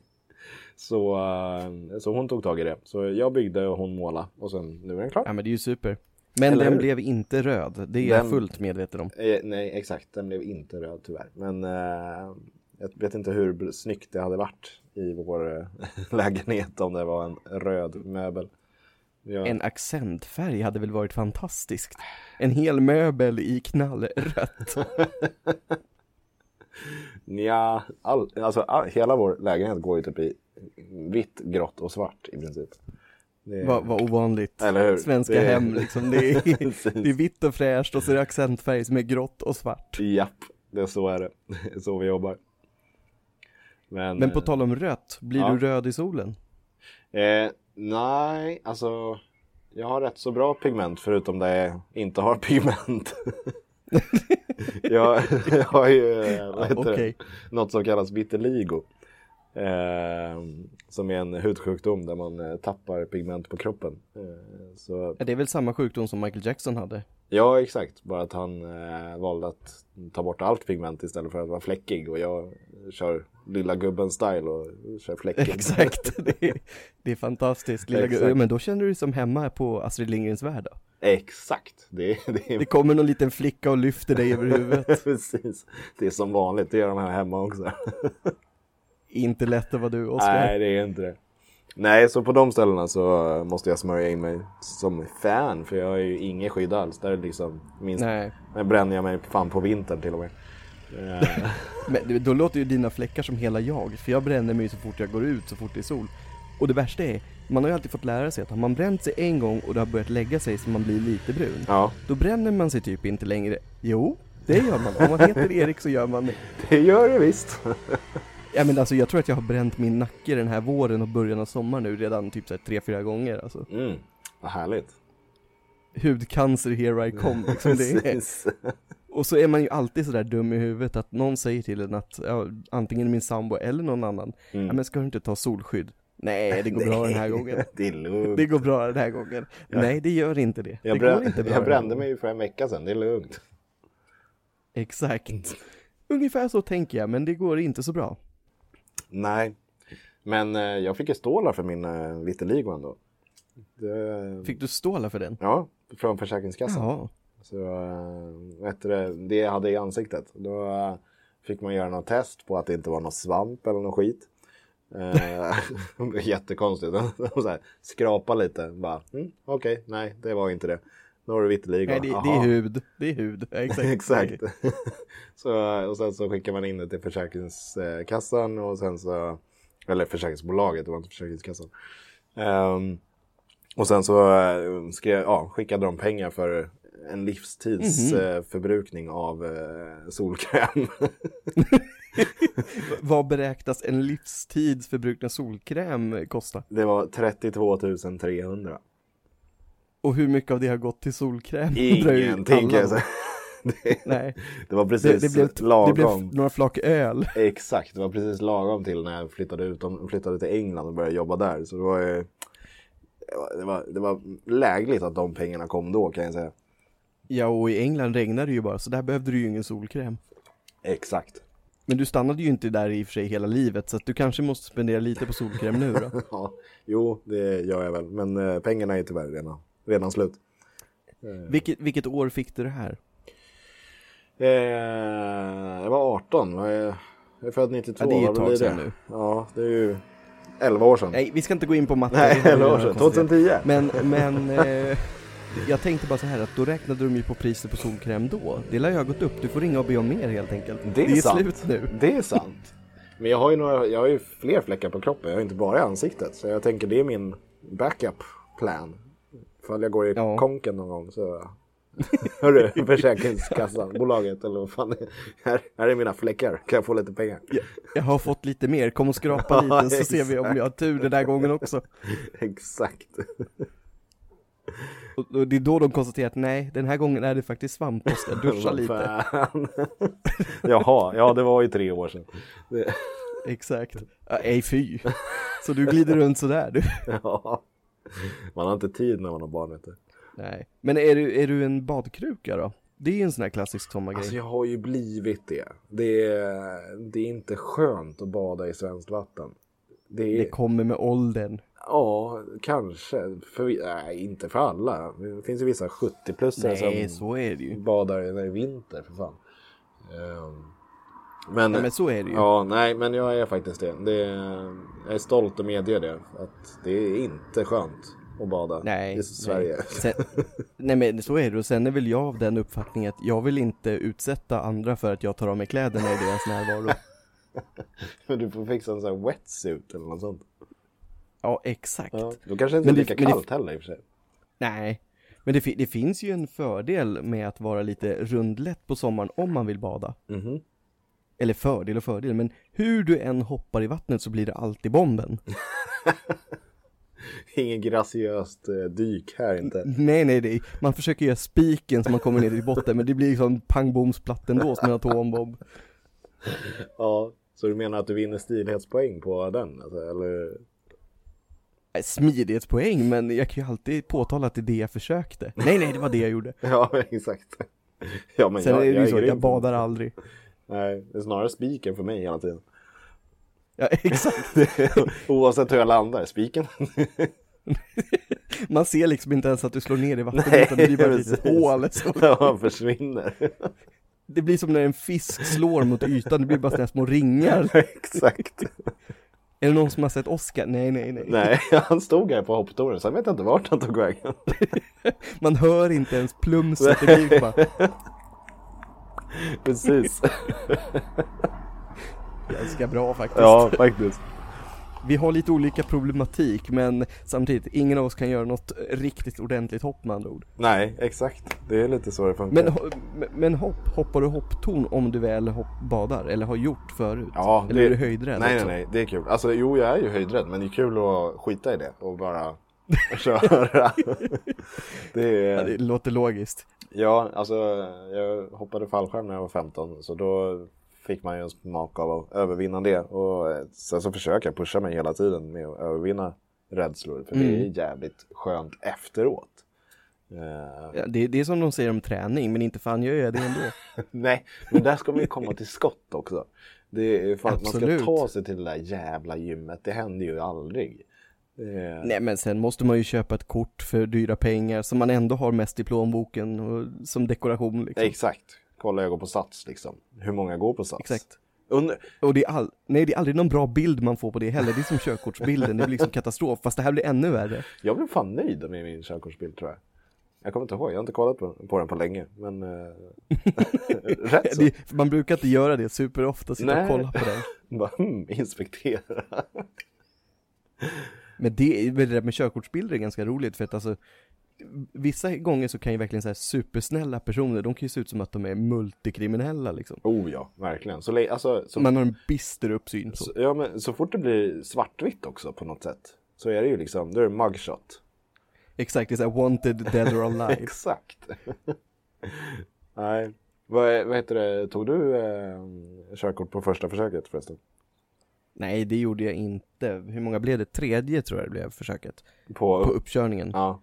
Speaker 1: Så, eh, så hon tog tag i det. Så jag byggde och hon målade och sen nu är den klar.
Speaker 2: Ja men det är ju super. Men
Speaker 1: Eller
Speaker 2: den
Speaker 1: hur?
Speaker 2: blev inte röd, det är jag
Speaker 1: Den-
Speaker 2: fullt medveten om.
Speaker 1: Eh, nej, exakt. Den blev inte röd tyvärr. Men eh, jag vet inte hur bl- snyggt det hade varit i vår eh, lägenhet om det var en röd möbel. Jag,
Speaker 2: En accentfärg hade väl varit fantastiskt? En hel möbel i knallrött.
Speaker 1: Nja, all, alltså, all, hela vår lägenhet går ju typ i vitt, grått och svart i princip. Det,
Speaker 2: Vad vad ovanligt.
Speaker 1: Eh, Eller hur?
Speaker 2: Svenska
Speaker 1: Det-
Speaker 2: hem liksom, det är,
Speaker 1: Precis.
Speaker 2: det är vitt och fräscht och så är det accentfärg som är grått och svart.
Speaker 1: Japp, det är så är det. Det är så vi jobbar. Men,
Speaker 2: Men på tal om rött, blir
Speaker 1: Ja.
Speaker 2: du röd i solen?
Speaker 1: eh, Nej, alltså jag har rätt så bra pigment förutom det jag inte har pigment. jag, jag har ju eh, vad heter det?
Speaker 2: Okej.
Speaker 1: något som kallas vitiligo. Eh, som är en hudsjukdom där man eh, tappar pigment på kroppen. Eh, så,
Speaker 2: Ja, Det är väl samma sjukdom som Michael Jackson hade?
Speaker 1: ja, exakt. Bara att han eh, valde att ta bort allt pigment istället för att vara fläckig. Och jag kör lilla gubben-style och kör fläckig.
Speaker 2: Exakt, det är, det är fantastiskt. Lilla
Speaker 1: Exakt.
Speaker 2: gubben. Men då känner du dig som hemma på Astrid Lindgrens Värld då.
Speaker 1: Exakt. Det, är- det är
Speaker 2: Det kommer någon liten flicka och lyfter dig över huvudet.
Speaker 1: Precis. Det är som vanligt, det gör de här hemma också.
Speaker 2: Inte lätt att vara du Oskar.
Speaker 1: Nej, det är inte det. Nej, så på de ställena så eh, måste jag smörja in mig som fan, för jag har ju inget skydd alls. Där är det liksom minst...
Speaker 2: Nej.
Speaker 1: Där bränner jag mig fan på vintern till och med. Eh,
Speaker 2: Men det- då låter ju dina fläckar som hela jag, för jag bränner mig så fort jag går ut, så fort det är sol. Och det värsta är, man har ju alltid fått lära sig att har man bränt sig en gång och det har börjat lägga sig så man blir lite brun,
Speaker 1: ja,
Speaker 2: då bränner man sig typ inte längre. Jo, det gör man. Om man heter Erik så gör man det.
Speaker 1: det gör det visst.
Speaker 2: Ja men alltså jag tror att jag har bränt min nacke den här våren och början av sommaren nu redan typ såhär tre, fyra gånger alltså.
Speaker 1: Mm, vad härligt.
Speaker 2: Hudcancer here I come liksom det är.
Speaker 1: Precis.
Speaker 2: Och så är man ju alltid sådär dum i huvudet att någon säger till en att, ja, antingen min sambo eller någon annan,
Speaker 1: Mm.
Speaker 2: ja men ska du inte ta solskydd? Nej det går bra den här gången.
Speaker 1: Det är lugnt.
Speaker 2: Det går bra den här gången. Nej det gör inte det.
Speaker 1: jag,
Speaker 2: det
Speaker 1: brän...
Speaker 2: går inte bra.
Speaker 1: jag
Speaker 2: den här
Speaker 1: brände
Speaker 2: gången.
Speaker 1: mig ju för en vecka sedan, det är lugnt.
Speaker 2: Exakt. Ungefär så tänker jag men det går inte så bra.
Speaker 1: Nej, men eh, jag fick ju stålar för min eh, vitiligo ändå. Det...
Speaker 2: Fick du ståla för den?
Speaker 1: Ja, från Försäkringskassan.
Speaker 2: Jaha.
Speaker 1: Så, eh, vad heter det, det jag hade i ansiktet. Då eh, fick man göra något test på att det inte var någon svamp eller någon skit. Eh, Jättekonstigt. De så här, skrapa lite. Bara, mm, Okej, nej, det var inte det. Då har du vitiligo.
Speaker 2: Nej det, det
Speaker 1: Aha.
Speaker 2: är hud. Det är hud. Ja, Exakt.
Speaker 1: Exakt. så, eh, och sen så skickar man in det till Försäkringskassan och sen så, eller försäkringsbolaget, det var inte Försäkringskassan. Ehm, och sen så eh, skrev, ja, skickade de pengar för en
Speaker 2: Mhm.
Speaker 1: livstids eh, förbrukning av eh, solkräm.
Speaker 2: Vad beräknas en livstids förbrukna solkräm kosta?
Speaker 1: det var 32 300.
Speaker 2: Och hur mycket av det har gått till solkräm? Undrar ju
Speaker 1: Ingenting kan
Speaker 2: alla.
Speaker 1: jag säga. det,
Speaker 2: Nej,
Speaker 1: det var
Speaker 2: det,
Speaker 1: precis
Speaker 2: det, blev, det
Speaker 1: lagom.
Speaker 2: blev några flak öl.
Speaker 1: Exakt, det var precis lagom till när jag flyttade, utom, flyttade till England och började jobba där. Så det var, ju- det var, det var, det var lägligt att de pengarna kom då kan jag säga.
Speaker 2: Ja, och i England regnade det ju bara, så där behövde du ju ingen solkräm.
Speaker 1: Exakt.
Speaker 2: Men du stannade ju inte där i och för sig hela livet, så att du kanske måste spendera lite på solkräm nu då. Mm.
Speaker 1: Ja, jo, det gör jag väl. Men eh, pengarna är tyvärr redan, redan slut.
Speaker 2: Vilket, vilket år fick du det här?
Speaker 1: Eh, jag var 18. vad är- Jag är född 92.
Speaker 2: Ja, det är ju
Speaker 1: vad
Speaker 2: ett tag
Speaker 1: blir det?
Speaker 2: sedan nu.
Speaker 1: Ja, det är ju 11 år sedan.
Speaker 2: Nej, vi ska inte gå in på matten.
Speaker 1: Nej,
Speaker 2: det har vi
Speaker 1: 11 år
Speaker 2: redan
Speaker 1: sedan.
Speaker 2: konstaterat.
Speaker 1: 2010.
Speaker 2: Men, men, eh, jag tänkte bara så här att då räknade de ju på priset på solkräm då. Det lär ju ha gått upp, du får ringa och be om mer helt enkelt.
Speaker 1: Det är, sant.
Speaker 2: slut nu.
Speaker 1: Det är sant. Men jag har, ju några, jag har ju fler fläckar på kroppen, jag har inte bara i ansiktet. Så jag tänker det är min backup plan. Ifall jag går i
Speaker 2: Ja.
Speaker 1: konken någon gång så... Hörru, Försäkringskassan, bolaget eller vad fan det är. Här, här är mina fläckar, kan jag få lite pengar?
Speaker 2: Jag har fått lite mer, kom och skrapa
Speaker 1: Ja,
Speaker 2: lite så ser vi om jag har tur den där gången också.
Speaker 1: Exakt.
Speaker 2: Och och det är då de konstaterar att nej, den här gången är det faktiskt svamp, Oskar, duscha
Speaker 1: Vad
Speaker 2: lite.
Speaker 1: fan. Jaha, ja det var ju tre år sedan. Det-
Speaker 2: Exakt. Ja, ej fy. Så du glider runt sådär du.
Speaker 1: Ja. Man har inte tid när man har barn vet du.
Speaker 2: Nej. Men är du, är du en badkruka då? Det är ju en sån här klassisk sommargrej.
Speaker 1: Alltså jag har ju blivit det. Det är, det är inte skönt att bada i svenskt vatten. Det är,
Speaker 2: Det kommer med åldern.
Speaker 1: ja, kanske. För, vi- nej, inte för alla. Det finns ju vissa 70-plussare
Speaker 2: Nej,
Speaker 1: som
Speaker 2: så är det ju.
Speaker 1: badar när det är vinter, för fan. Ehm, men,
Speaker 2: Nej, men så är det ju.
Speaker 1: ja, nej, men jag är faktiskt det. det är, jag är stolt att medge det. Att det är inte skönt att bada
Speaker 2: Nej.
Speaker 1: i Sverige.
Speaker 2: Nej. Sen, nej men så är det och sen är väl jag av den uppfattningen att jag vill inte utsätta andra för att jag tar av mig kläderna i deras närvaro.
Speaker 1: Men du får fixa en sån här wetsuit eller något sånt.
Speaker 2: Ja, exakt.
Speaker 1: Ja. Då kanske det inte
Speaker 2: Men
Speaker 1: är
Speaker 2: det-
Speaker 1: lika
Speaker 2: men det-
Speaker 1: kallt heller i och för sig.
Speaker 2: Nej. Men det, fi- det finns ju en fördel med att vara lite rundlätt på sommaren om man vill bada.
Speaker 1: Mhm.
Speaker 2: Eller fördel och fördel, men hur du än hoppar i vattnet så blir det alltid bomben.
Speaker 1: Ingen graciöst eh, dyk här inte.
Speaker 2: Nej, nej, det är, man försöker göra spiken så man kommer ner till botten, men det blir liksom pangbomsplatt ändå som en atombomb.
Speaker 1: Ja, så du menar att du vinner stilhetspoäng på den? Alltså, eller?
Speaker 2: Nej, Äh, Smidighetspoäng, men jag kan ju alltid påtala att det är det jag försökte. Nej, nej, det var det jag gjorde.
Speaker 1: Ja, exakt. Ja, men
Speaker 2: Sen
Speaker 1: jag,
Speaker 2: är det ju så,
Speaker 1: grym
Speaker 2: jag
Speaker 1: på-
Speaker 2: badar aldrig.
Speaker 1: Nej, det är snarare spiken för mig hela tiden.
Speaker 2: Ja, exakt.
Speaker 1: Oavsett hur jag landar, spiken.
Speaker 2: Man ser liksom inte ens att du slår ner i vattnet,
Speaker 1: Nej,
Speaker 2: utan det blir bara ett litet
Speaker 1: precis.
Speaker 2: hål. liksom. Så.
Speaker 1: ja, försvinner.
Speaker 2: Det blir som när en fisk slår mot ytan, det blir bara sådana små ringar.
Speaker 1: exakt.
Speaker 2: Är det någon som har sett Oscar? Nej, nej, nej.
Speaker 1: Nej, han stod här på hopptoren, sen vet jag inte vart han tog vägen.
Speaker 2: Man hör inte ens plumset, det blir bara
Speaker 1: Precis.
Speaker 2: ganska bra faktiskt.
Speaker 1: Ja, faktiskt.
Speaker 2: Vi har lite olika problematik, men samtidigt, ingen av oss kan göra något riktigt ordentligt hopp med andra ord.
Speaker 1: Nej, exakt. Det är lite så det funkar.
Speaker 2: Men, ho- men- men hopp, hoppar du hopptorn om du väl hopp, badar eller har gjort förut?
Speaker 1: Ja,
Speaker 2: eller är du höjdrädd
Speaker 1: Nej,
Speaker 2: också?
Speaker 1: nej, nej, det är kul. Alltså, jo, jag är ju höjdrädd, men det är kul att skita i det och bara köra. det
Speaker 2: Ja, det
Speaker 1: är,
Speaker 2: låter logiskt.
Speaker 1: ja, alltså, jag hoppade fallskärm när jag var 15, så då fick man ju en smak av att övervinna det. Och eh, sen så försöker jag pusha mig hela tiden med att övervinna rädslor, för det är
Speaker 2: Mm.
Speaker 1: jävligt skönt efteråt. Eh,
Speaker 2: Ja, det, det är som de säger om träning, men inte fan gör jag det ändå.
Speaker 1: Nej, men där ska man ju komma till skott också. Det är fan, man ska
Speaker 2: Absolut.
Speaker 1: ta sig till det där jävla gymmet, det händer ju aldrig. Eh,
Speaker 2: nej, men sen måste man ju köpa ett kort för dyra pengar som man ändå har mest i plånboken och, som dekoration liksom.
Speaker 1: Exakt. Kolla jag går på Sats liksom. Hur många går på Sats?
Speaker 2: Exakt.
Speaker 1: Und-
Speaker 2: Och det är, all, nej, det är aldrig någon bra bild man får på det heller, det är som körkortsbilden, det blir liksom katastrof, fast det här blir ännu värre.
Speaker 1: jag blev fan nöjd med min körkortsbild tror jag. Jag kommer inte ihåg, jag har inte kollat på, på den på länge. Men eh, rätt så.
Speaker 2: Det, för man brukar inte göra det superofta, sitta
Speaker 1: Nej.
Speaker 2: och kolla på den.
Speaker 1: Bara, hmm, inspektera.
Speaker 2: Men det, men det där med körkortsbilder är ganska roligt för att alltså Vissa gånger så kan ju verkligen så här supersnälla personer, de kan ju se ut som att de är multikriminella liksom.
Speaker 1: Oh ja, verkligen. Så, le- alltså, så,
Speaker 2: Man har en bister uppsyn så.
Speaker 1: så, ja, men, så fort det blir svartvitt också på något sätt. Så är det ju liksom, då är det mugshot.
Speaker 2: Exakt, det är såhär wanted, dead or alive.
Speaker 1: Exakt. Nej. Vad, vad heter det, tog du eh, körkort på första försöket förresten?
Speaker 2: Nej, det gjorde jag inte. Hur många blev det? Tredje tror jag det blev försöket.
Speaker 1: På,
Speaker 2: På uppkörningen.
Speaker 1: Ja.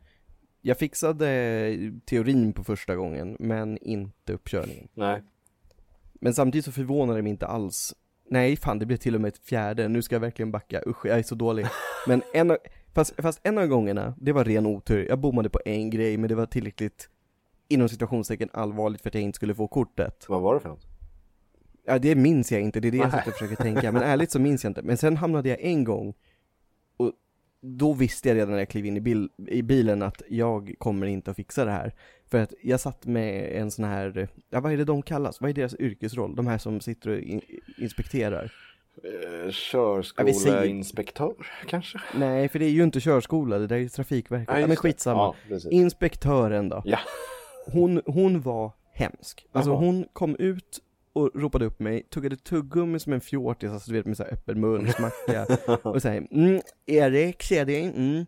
Speaker 2: Jag fixade eh, teorin på första gången, men inte uppkörningen.
Speaker 1: Nej.
Speaker 2: Men samtidigt så förvånar det mig inte alls. Nej, fan det blev till och med ett fjärde, nu ska jag verkligen backa, usch jag är så dålig. Men en av, fast, fast en av gångerna, det var ren otur. Jag bommade på en grej, men det var tillräckligt inom situationstecken allvarligt för att jag inte skulle få kortet.
Speaker 1: Vad var det för något?
Speaker 2: Ja, det minns jag inte, det är det jag sitter och försöker tänka, men ärligt så minns jag inte. Men sen hamnade jag en gång och då visste jag redan när jag klev in i, bil, i bilen att jag kommer inte att fixa det här. För att jag satt med en sån här, ja vad är det de kallas? Vad är deras yrkesroll? De här som sitter och in, inspekterar.
Speaker 1: Eh,
Speaker 2: Ja, vi säger-
Speaker 1: Körskoleinspektör kanske?
Speaker 2: Nej, för det är ju inte körskola, det där är ju Trafikverket. Ja, men
Speaker 1: just det.
Speaker 2: skitsamma.
Speaker 1: Ja, precis.
Speaker 2: Inspektören då.
Speaker 1: Ja.
Speaker 2: Hon, hon var hemsk. Alltså
Speaker 1: Jaha.
Speaker 2: hon kom ut och ropade upp mig, tuggade tuggummi som en fjortis, alltså du vet med så här öppen mun, smacka och säger mm, Erik, ser dig, mm.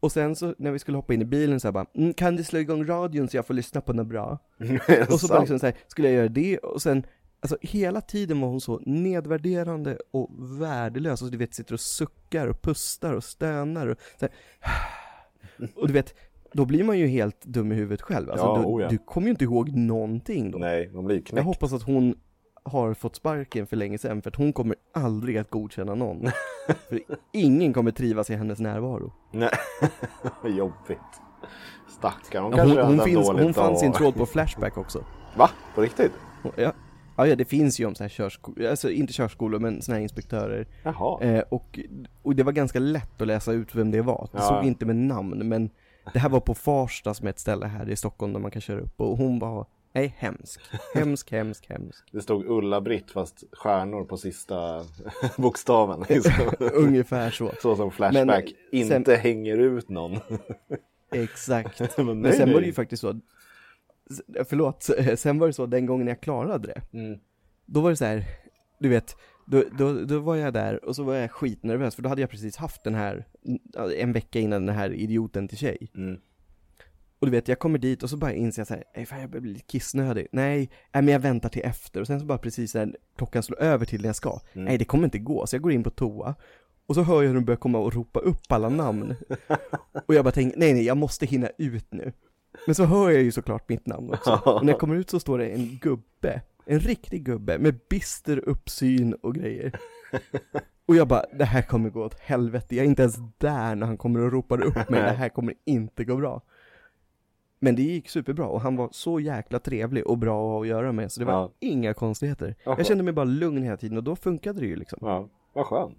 Speaker 2: Och sen så när vi skulle hoppa in i bilen så här bara, mm, kan du slå igång radion så jag får lyssna på något bra? Och så bara liksom så här, skulle jag göra det? Och sen, alltså hela tiden var hon så nedvärderande och värdelös. Alltså du vet, sitter och suckar och pustar och stönar och så här. Och du vet, då blir man ju helt dum i huvudet själv. Alltså
Speaker 1: Ja,
Speaker 2: du,
Speaker 1: oh ja.
Speaker 2: du kommer ju inte ihåg någonting då.
Speaker 1: Nej, de blir knäckt.
Speaker 2: Jag hoppas att hon har fått sparken för länge sedan för att hon kommer aldrig att godkänna någon. för ingen kommer trivas i hennes närvaro.
Speaker 1: Nej. Vad Jobbigt. Stackarn, hon kanske
Speaker 2: Hon,
Speaker 1: hade
Speaker 2: hon,
Speaker 1: en
Speaker 2: finns,
Speaker 1: dålig
Speaker 2: hon
Speaker 1: dag.
Speaker 2: fanns i en tråd på Flashback också.
Speaker 1: Va? På riktigt?
Speaker 2: Ja. Ja, ja, det finns ju om så här körskolor, alltså inte körskolor men såna här inspektörer.
Speaker 1: Jaha.
Speaker 2: Eh, och, och det var ganska lätt att läsa ut vem det var. Det
Speaker 1: Ja.
Speaker 2: såg inte med namn men det här var på Farsta som är ett ställe här i Stockholm där man kan köra upp och hon var, nej hemsk. Hemsk, hemsk, hemsk.
Speaker 1: Det stod Ulla-Britt fast stjärnor på sista bokstaven. liksom.
Speaker 2: Ungefär så.
Speaker 1: Så som Flashback
Speaker 2: Men sen-
Speaker 1: inte hänger ut någon.
Speaker 2: Exakt.
Speaker 1: Men
Speaker 2: Men
Speaker 1: nej,
Speaker 2: sen var
Speaker 1: nej.
Speaker 2: det ju faktiskt så, förlåt, sen var det så den gången jag klarade det.
Speaker 1: Mm.
Speaker 2: Då var det så här, du vet, då, då, då var jag där och så var jag skitnervös för då hade jag precis haft den här, en vecka innan den här idioten till tjej.
Speaker 1: Mm.
Speaker 2: Och du vet, jag kommer dit och så bara inser jag så här, "Ej, fan jag börjar bli lite kissnödig. Nej, nej men jag väntar till efter. Och sen så bara precis när klockan slår över till när jag ska. Nej, det kommer inte gå. Så jag går in på toa. Och så hör jag hur de börjar komma och ropa upp alla namn. och jag bara tänker, nej nej, jag måste hinna ut nu. Men så hör jag ju såklart mitt namn också. Och när jag kommer ut så står det en gubbe, en riktig gubbe med bister uppsyn och grejer. Och jag bara, det här kommer gå åt helvete. Jag är inte ens där när han kommer och ropar upp mig. Det här kommer inte gå bra. Men det gick superbra och han var så jäkla trevlig och bra att göra med så det var
Speaker 1: Ja.
Speaker 2: inga konstigheter.
Speaker 1: Jaha.
Speaker 2: Jag kände mig bara lugn hela tiden och då funkade det ju liksom.
Speaker 1: Ja, vad skönt.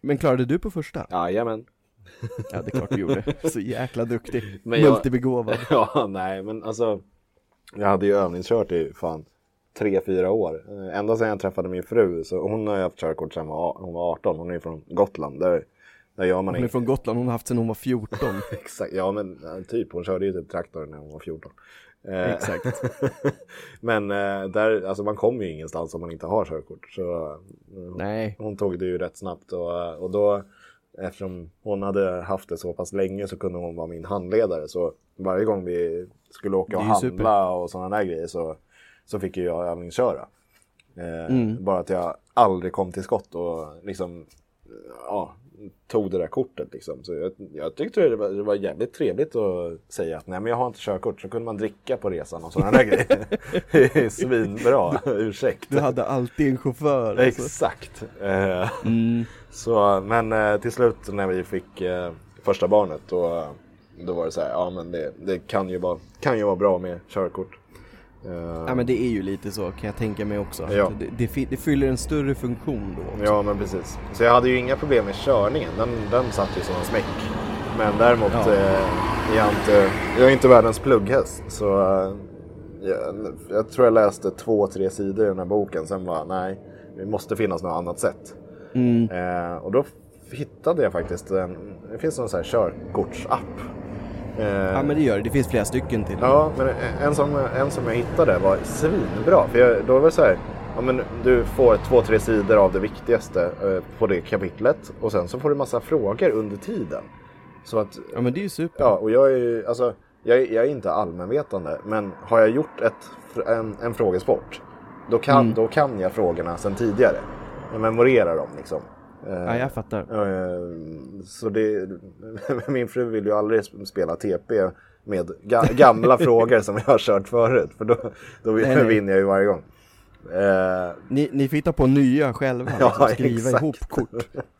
Speaker 2: Men klarade du på första?
Speaker 1: Jajamän.
Speaker 2: Ja, det är klart du gjorde. Så jäkla duktig.
Speaker 1: Men jag-
Speaker 2: Multibegåvad.
Speaker 1: Ja, nej, men alltså. Jag hade ju övningskört i fan tre, fyra år. Eh, Ända sedan jag träffade min fru. Så hon har ju haft körkort sedan hon var 18. Hon är ju från Gotland. Där, där gör man
Speaker 2: Hon är
Speaker 1: inget.
Speaker 2: från Gotland, hon har haft sedan hon var 14.
Speaker 1: Exakt, ja men ja, typ. Hon körde ju typ traktor när hon var 14. Eh,
Speaker 2: Exakt.
Speaker 1: men eh, där, alltså man kommer ju ingenstans om man inte har körkort. Så eh,
Speaker 2: Nej.
Speaker 1: hon tog det ju rätt snabbt och, eh, och då eftersom hon hade haft det så pass länge så kunde hon vara min handledare. Så varje gång vi skulle åka och
Speaker 2: Det är ju
Speaker 1: handla och sådana där grejer så, så fick ju jag övningsköra. Eh,
Speaker 2: Mm.
Speaker 1: Bara att jag aldrig kom till skott och liksom ja, tog det där kortet. Liksom. Så jag, jag tyckte det var, det var jävligt trevligt att säga att nej men jag har inte körkort. Så kunde man dricka på resan och sådana där grejer. Det är Svinbra ursäkt.
Speaker 2: Du hade alltid en chaufför. Alltså.
Speaker 1: Exakt. Eh, så, men eh, till slut när vi fick eh, första barnet då, då var det så här, ja men det, det kan, ju vara, kan ju vara bra med körkort. Eh,
Speaker 2: Ja men det är ju lite så kan jag tänka mig också.
Speaker 1: Ja.
Speaker 2: Att Det, det, fi- det fyller en större funktion då.
Speaker 1: ja men precis. Så jag hade ju inga problem med körningen, den, den satt ju som en smäck. Men däremot
Speaker 2: Ja.
Speaker 1: eh, är jag, inte, jag är inte världens plugghäst. Så eh, jag, jag tror jag läste två, tre sidor i den här boken, sen bara nej, det måste finnas något annat sätt.
Speaker 2: Mm.
Speaker 1: Eh, och då f- hittade jag faktiskt en, det finns någon sån här körkortsapp. Eh,
Speaker 2: Ja men det gör det, det finns flera stycken till.
Speaker 1: ja, men en som, en som jag hittade var svinbra. För jag, då var det så här, ja, men du får två, tre sidor av det viktigaste eh, på det kapitlet och sen så får du massa frågor under tiden. Så att,
Speaker 2: Ja men det är ju super.
Speaker 1: ja, och jag är ju, alltså, jag, är- jag är inte allmänvetande, men har jag gjort ett, fr- en, en frågesport, då kan, då kan jag frågorna sedan tidigare. Jag memorerar dem liksom. Eh,
Speaker 2: Ja jag fattar.
Speaker 1: Eh, Så det, min fru vill ju aldrig sp- spela TP med ga- gamla frågor som jag har kört förut. För då, då
Speaker 2: Nej, nej.
Speaker 1: vinner jag ju varje gång. Eh,
Speaker 2: Ni, ni får hitta på nya själva,
Speaker 1: Ja,
Speaker 2: liksom, skriva
Speaker 1: exakt.
Speaker 2: ihop kort.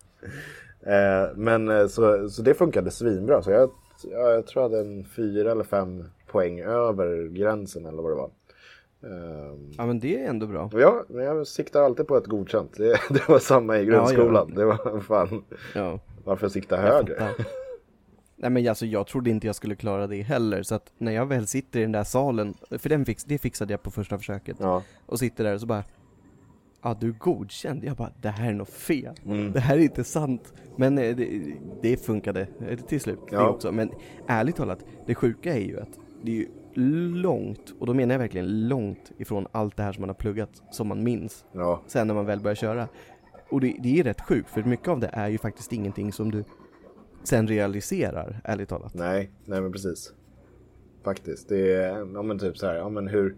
Speaker 1: eh, men eh, så, så det funkade svinbra. Så jag, jag, jag tror jag hade en fyra eller fem poäng över gränsen eller vad det var. Eh,
Speaker 2: Ja men det är ändå bra.
Speaker 1: ja, men jag siktar alltid på ett godkänt. Det, det var samma i
Speaker 2: ja.
Speaker 1: grundskolan. Det var fan.
Speaker 2: Ja.
Speaker 1: Varför sikta
Speaker 2: Jag
Speaker 1: högre?
Speaker 2: fattar. Nej men alltså jag trodde inte jag skulle klara det heller så att när jag väl sitter i den där salen, för den fix, det fixade jag på första försöket
Speaker 1: Ja.
Speaker 2: och sitter där och så bara Ja du är godkänd, jag bara det här är något fel,
Speaker 1: Mm.
Speaker 2: det här är inte sant Men eh, det, det funkade eh, till slut det
Speaker 1: Ja.
Speaker 2: också Men ärligt talat, det sjuka är ju att det är ju långt, och då menar jag verkligen långt ifrån allt det här som man har pluggat som man minns
Speaker 1: ja.
Speaker 2: sen när man väl börjar köra. Och det, det är rätt sjukt för mycket av det är ju faktiskt ingenting som du sen realiserar, ärligt talat.
Speaker 1: Nej, nej men precis. Faktiskt. Det är ja, men typ så här, ja, men hur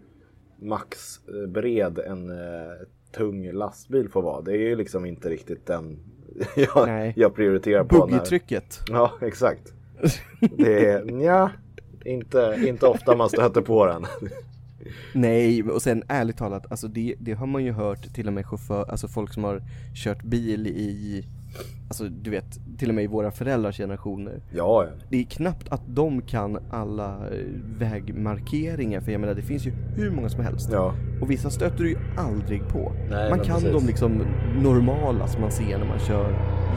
Speaker 1: max eh, bred en eh, tung lastbil får vara. Det är ju liksom inte riktigt den jag,
Speaker 2: Nej.
Speaker 1: jag prioriterar på. när-
Speaker 2: Boogie-trycket.
Speaker 1: Ja, exakt. Det är nja, inte, inte ofta man stöter på den.
Speaker 2: Nej, och sen ärligt talat, alltså det, det har man ju hört till och med chaufför, alltså folk som har kört bil i, alltså du vet, till och med i våra föräldrars generationer.
Speaker 1: Ja, ja.
Speaker 2: Det är knappt att de kan alla eh, vägmarkeringar, för jag menar det finns ju hur många som helst.
Speaker 1: ja.
Speaker 2: Och vissa stöter du ju aldrig på.
Speaker 1: Nej,
Speaker 2: man
Speaker 1: men
Speaker 2: kan
Speaker 1: precis.
Speaker 2: de liksom normala som man ser när man kör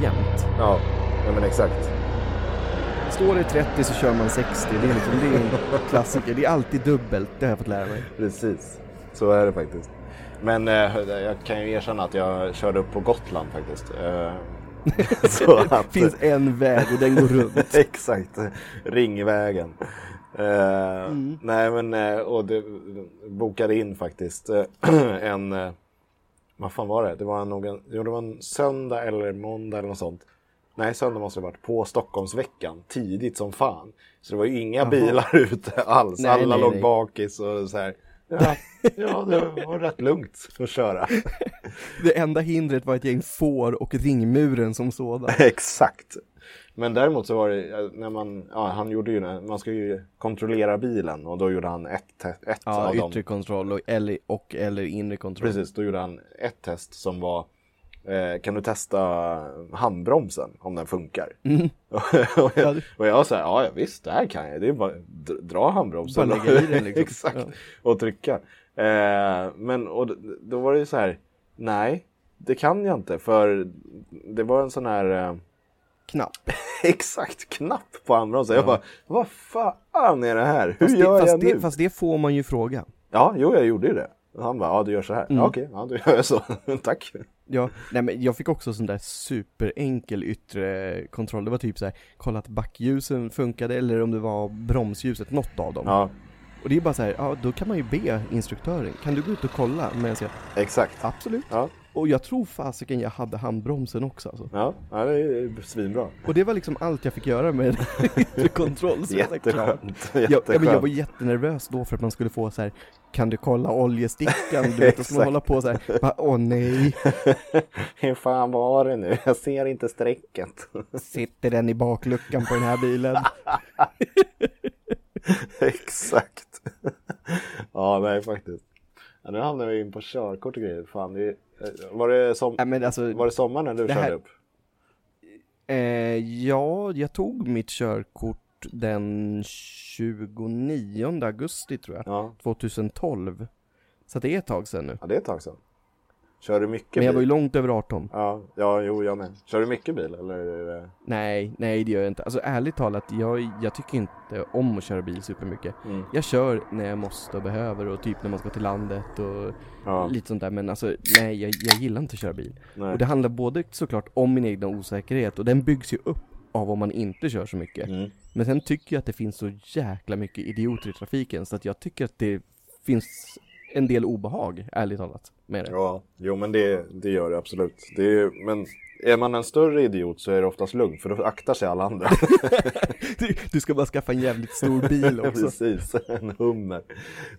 Speaker 2: jämt.
Speaker 1: Ja, ja men exakt.
Speaker 2: Står det 30 så kör man 60, det är liksom det är en klassiker. Det är alltid dubbelt, det har jag fått lära mig.
Speaker 1: Precis. Så är det faktiskt. Men eh, jag kan ju erkänna att jag körde upp på Gotland faktiskt. Eh, så att...
Speaker 2: finns en väg och den går runt.
Speaker 1: Exakt, Ringvägen. Eh,
Speaker 2: Mm.
Speaker 1: Nej men, eh, och det bokade in faktiskt eh, en, eh, vad fan var det? Det var, någon, jo, det var en söndag eller måndag eller något sånt. Nej, söndag måste det ha varit, på Stockholmsveckan, tidigt som fan. Så det var ju inga bilar ute alls,
Speaker 2: Nej,
Speaker 1: alla
Speaker 2: nej,
Speaker 1: låg
Speaker 2: nej.
Speaker 1: bakis och så här. Ja, ja, det var rätt lugnt att köra.
Speaker 2: Det enda hindret var ett gäng får och ringmuren som sådan.
Speaker 1: Exakt. Men däremot så var det eh, när man, ja, han gjorde ju, det- man ska ju kontrollera bilen och då gjorde han ett, te- ett
Speaker 2: Ja,
Speaker 1: av
Speaker 2: yttre
Speaker 1: dem.
Speaker 2: kontroll och eller, och eller inre kontroll.
Speaker 1: Precis, då gjorde han ett test som var eh, kan du testa handbromsen om den funkar? och,
Speaker 2: Mm. Ja,
Speaker 1: jag,
Speaker 2: det-
Speaker 1: och jag sa ja ja, visst det här kan jag, det är bara d- dra handbromsen.
Speaker 2: Bara lägga i den liksom.
Speaker 1: Exakt,
Speaker 2: Ja.
Speaker 1: och trycka. Eh, men och d- då var det ju så här, nej det kan jag inte för det var en sån här eh,
Speaker 2: Knapp.
Speaker 1: exakt knapp på handbromsen. Jag bara, vad fan är det här? Hur
Speaker 2: Fast det,
Speaker 1: gör
Speaker 2: fast,
Speaker 1: jag
Speaker 2: det,
Speaker 1: nu?
Speaker 2: fast det får man ju fråga.
Speaker 1: Ja, jo, jag gjorde ju det. Och Han bara, ja du gör så här.
Speaker 2: Mm.
Speaker 1: Ja, okej, ja, då gör jag så. Tack.
Speaker 2: Ja, nej men jag fick också sån där superenkel yttre kontroll. Det var typ så här, kolla att backljusen funkade eller om det var bromsljuset, något av dem.
Speaker 1: Ja,
Speaker 2: Och det är bara så här, ja då kan man ju be instruktören, kan du gå ut och kolla? Men jag säger,
Speaker 1: exakt.
Speaker 2: absolut.
Speaker 1: Ja,
Speaker 2: Och jag tror fasiken jag hade handbromsen också alltså.
Speaker 1: ja, ja det är svinbra.
Speaker 2: Och det var liksom allt jag fick göra med yttre kontroll. Så jag sa, klart.
Speaker 1: Jätteskönt.
Speaker 2: Jag, ja, men jag var
Speaker 1: Jätteskönt.
Speaker 2: jättenervös då för att man skulle få så här, kan du kolla oljestickan? Du vet, då ska man hålla på så här, bara, åh nej,
Speaker 1: Hur fan var det nu? Jag ser inte strecket.
Speaker 2: sitter den i bakluckan på den här bilen?
Speaker 1: exakt. ja, nej faktiskt. Ja, nu hamnar vi in på körkort och grejer. Fan, det, är- var, det som,
Speaker 2: Nej men alltså,
Speaker 1: var det sommar när du
Speaker 2: Det här-
Speaker 1: körde upp?
Speaker 2: eh, ja, jag tog mitt körkort den 29 augusti tror jag,
Speaker 1: Ja.
Speaker 2: 2012. Så det är ett tag sedan nu.
Speaker 1: ja, det är ett tag sedan. Kör du mycket
Speaker 2: Men jag
Speaker 1: bil?
Speaker 2: var ju långt över 18.
Speaker 1: Ja, ja, jo, jag med. Kör du mycket bil eller? är det-
Speaker 2: Nej, nej det gör jag inte. Alltså ärligt talat, jag, jag tycker inte om att köra bil supermycket.
Speaker 1: Mm.
Speaker 2: Jag kör när jag måste och behöver och typ när man ska till landet och
Speaker 1: Ja.
Speaker 2: lite sånt där. Men alltså nej, jag, jag gillar inte att köra bil.
Speaker 1: Nej.
Speaker 2: Och det handlar både såklart om min egna osäkerhet och den byggs ju upp av om man inte kör så mycket.
Speaker 1: Mm.
Speaker 2: Men sen tycker jag att det finns så jäkla mycket idioter i trafiken så att jag tycker att det finns en del obehag, ärligt talat, med det.
Speaker 1: Ja, jo men det, det gör det absolut. Det är, ju- men är man en större idiot så är det oftast lugnt för då aktar sig alla andra.
Speaker 2: Du, du ska bara skaffa en jävligt stor bil också.
Speaker 1: Precis, en hummer.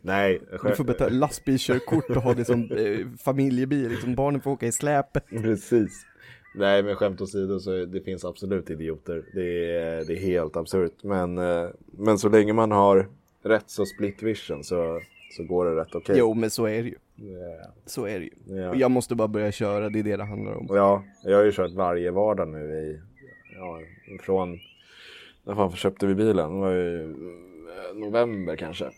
Speaker 1: Nej,
Speaker 2: Du får betala lastbilskörkort och ha det som eh, familjebil, liksom barnen får åka i släpet.
Speaker 1: Precis. Nej, men skämt åsido så det finns absolut idioter. Det är, det är helt absurt. Men, eh, men så länge man har rätt så split vision så, så går det rätt okej.
Speaker 2: Jo, men så är det ju.
Speaker 1: Eh,
Speaker 2: Så är det ju.
Speaker 1: Ja.
Speaker 2: Och jag måste bara börja köra, det är det det handlar om.
Speaker 1: Ja, jag har ju kört varje vardag nu i... Ja, från... När fan köpte vi bilen? Det var ju eh, november kanske. Eh,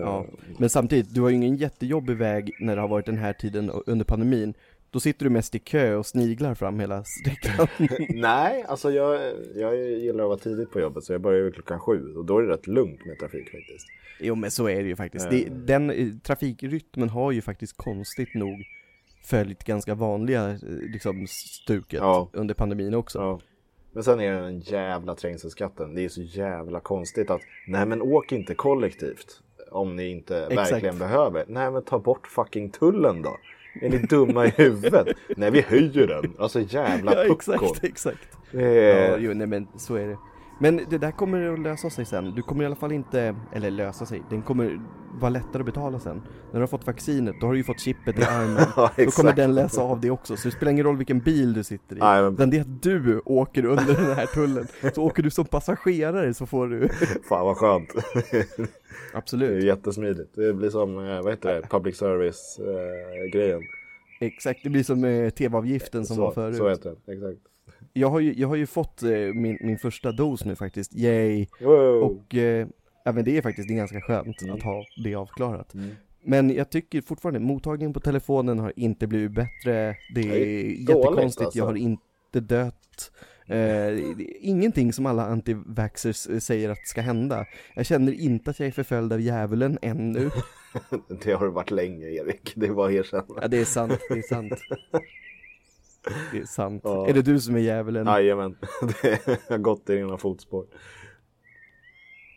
Speaker 2: Ja. Men samtidigt, du har ju ingen jättejobbig väg när det har varit den här tiden och- under pandemin. Då sitter du mest i kö och sniglar fram hela sträckan.
Speaker 1: Nej, alltså jag, jag gillar att vara tidigt på jobbet så jag börjar ju klockan sju och då är det rätt lugnt med trafik faktiskt.
Speaker 2: jo men så är det ju faktiskt. Det, den eh, trafikrytmen har ju faktiskt konstigt nog följt ganska vanliga eh, liksom, stuket
Speaker 1: Ja.
Speaker 2: under pandemin också.
Speaker 1: Ja. Men sen är det den jävla trängselskatten. Det är så jävla konstigt att nej men åk inte kollektivt om ni inte
Speaker 2: Exakt.
Speaker 1: verkligen behöver. Nej men ta bort fucking tullen då. Är ni dumma i huvudet? nej vi höjer den. Alltså jävla
Speaker 2: Ja,
Speaker 1: puckon.
Speaker 2: exakt, exakt. Ja,
Speaker 1: Eh,
Speaker 2: jo, nej men så är det. Men det där kommer att lösa sig sen. Du kommer i alla fall inte, eller lösa sig, den kommer vara lättare att betala sen. När du har fått vaccinet, då har du ju fått chippet i armen.
Speaker 1: Ja,
Speaker 2: Då kommer
Speaker 1: exakt.
Speaker 2: den läsa av det också, så det spelar ingen roll vilken bil du sitter i.
Speaker 1: Nej, men-
Speaker 2: Utan det är att du åker under den här tullen. Så åker du som passagerare så får du...
Speaker 1: Fan vad skönt. det är
Speaker 2: Absolut.
Speaker 1: jättesmidigt. Det blir som, eh, vad heter det, public service-grejen.
Speaker 2: Exakt, det blir som eh, TV-avgiften som var
Speaker 1: så,
Speaker 2: förut.
Speaker 1: så heter den, exakt.
Speaker 2: Jag, har ju, jag har ju fått eh, min, min första dos nu faktiskt, yay!
Speaker 1: Wow.
Speaker 2: Och eh, ja, men det är faktiskt det är ganska skönt
Speaker 1: Mm.
Speaker 2: att ha det avklarat. Men jag tycker fortfarande, mottagningen på telefonen har inte blivit bättre. Det är
Speaker 1: Nej, dåligt,
Speaker 2: jättekonstigt,
Speaker 1: alltså.
Speaker 2: jag har inte dött. Eh, det är ingenting som alla antivaxxers eh, säger att ska hända. Jag känner inte att jag är förföljd av djävulen ännu.
Speaker 1: Det har varit länge Erik, det var erkänna.
Speaker 2: Ja, det är sant, det är sant. Det är sant.
Speaker 1: Ja.
Speaker 2: Är det du som är djävulen?
Speaker 1: Jajamän, det har gått i dina fotspår.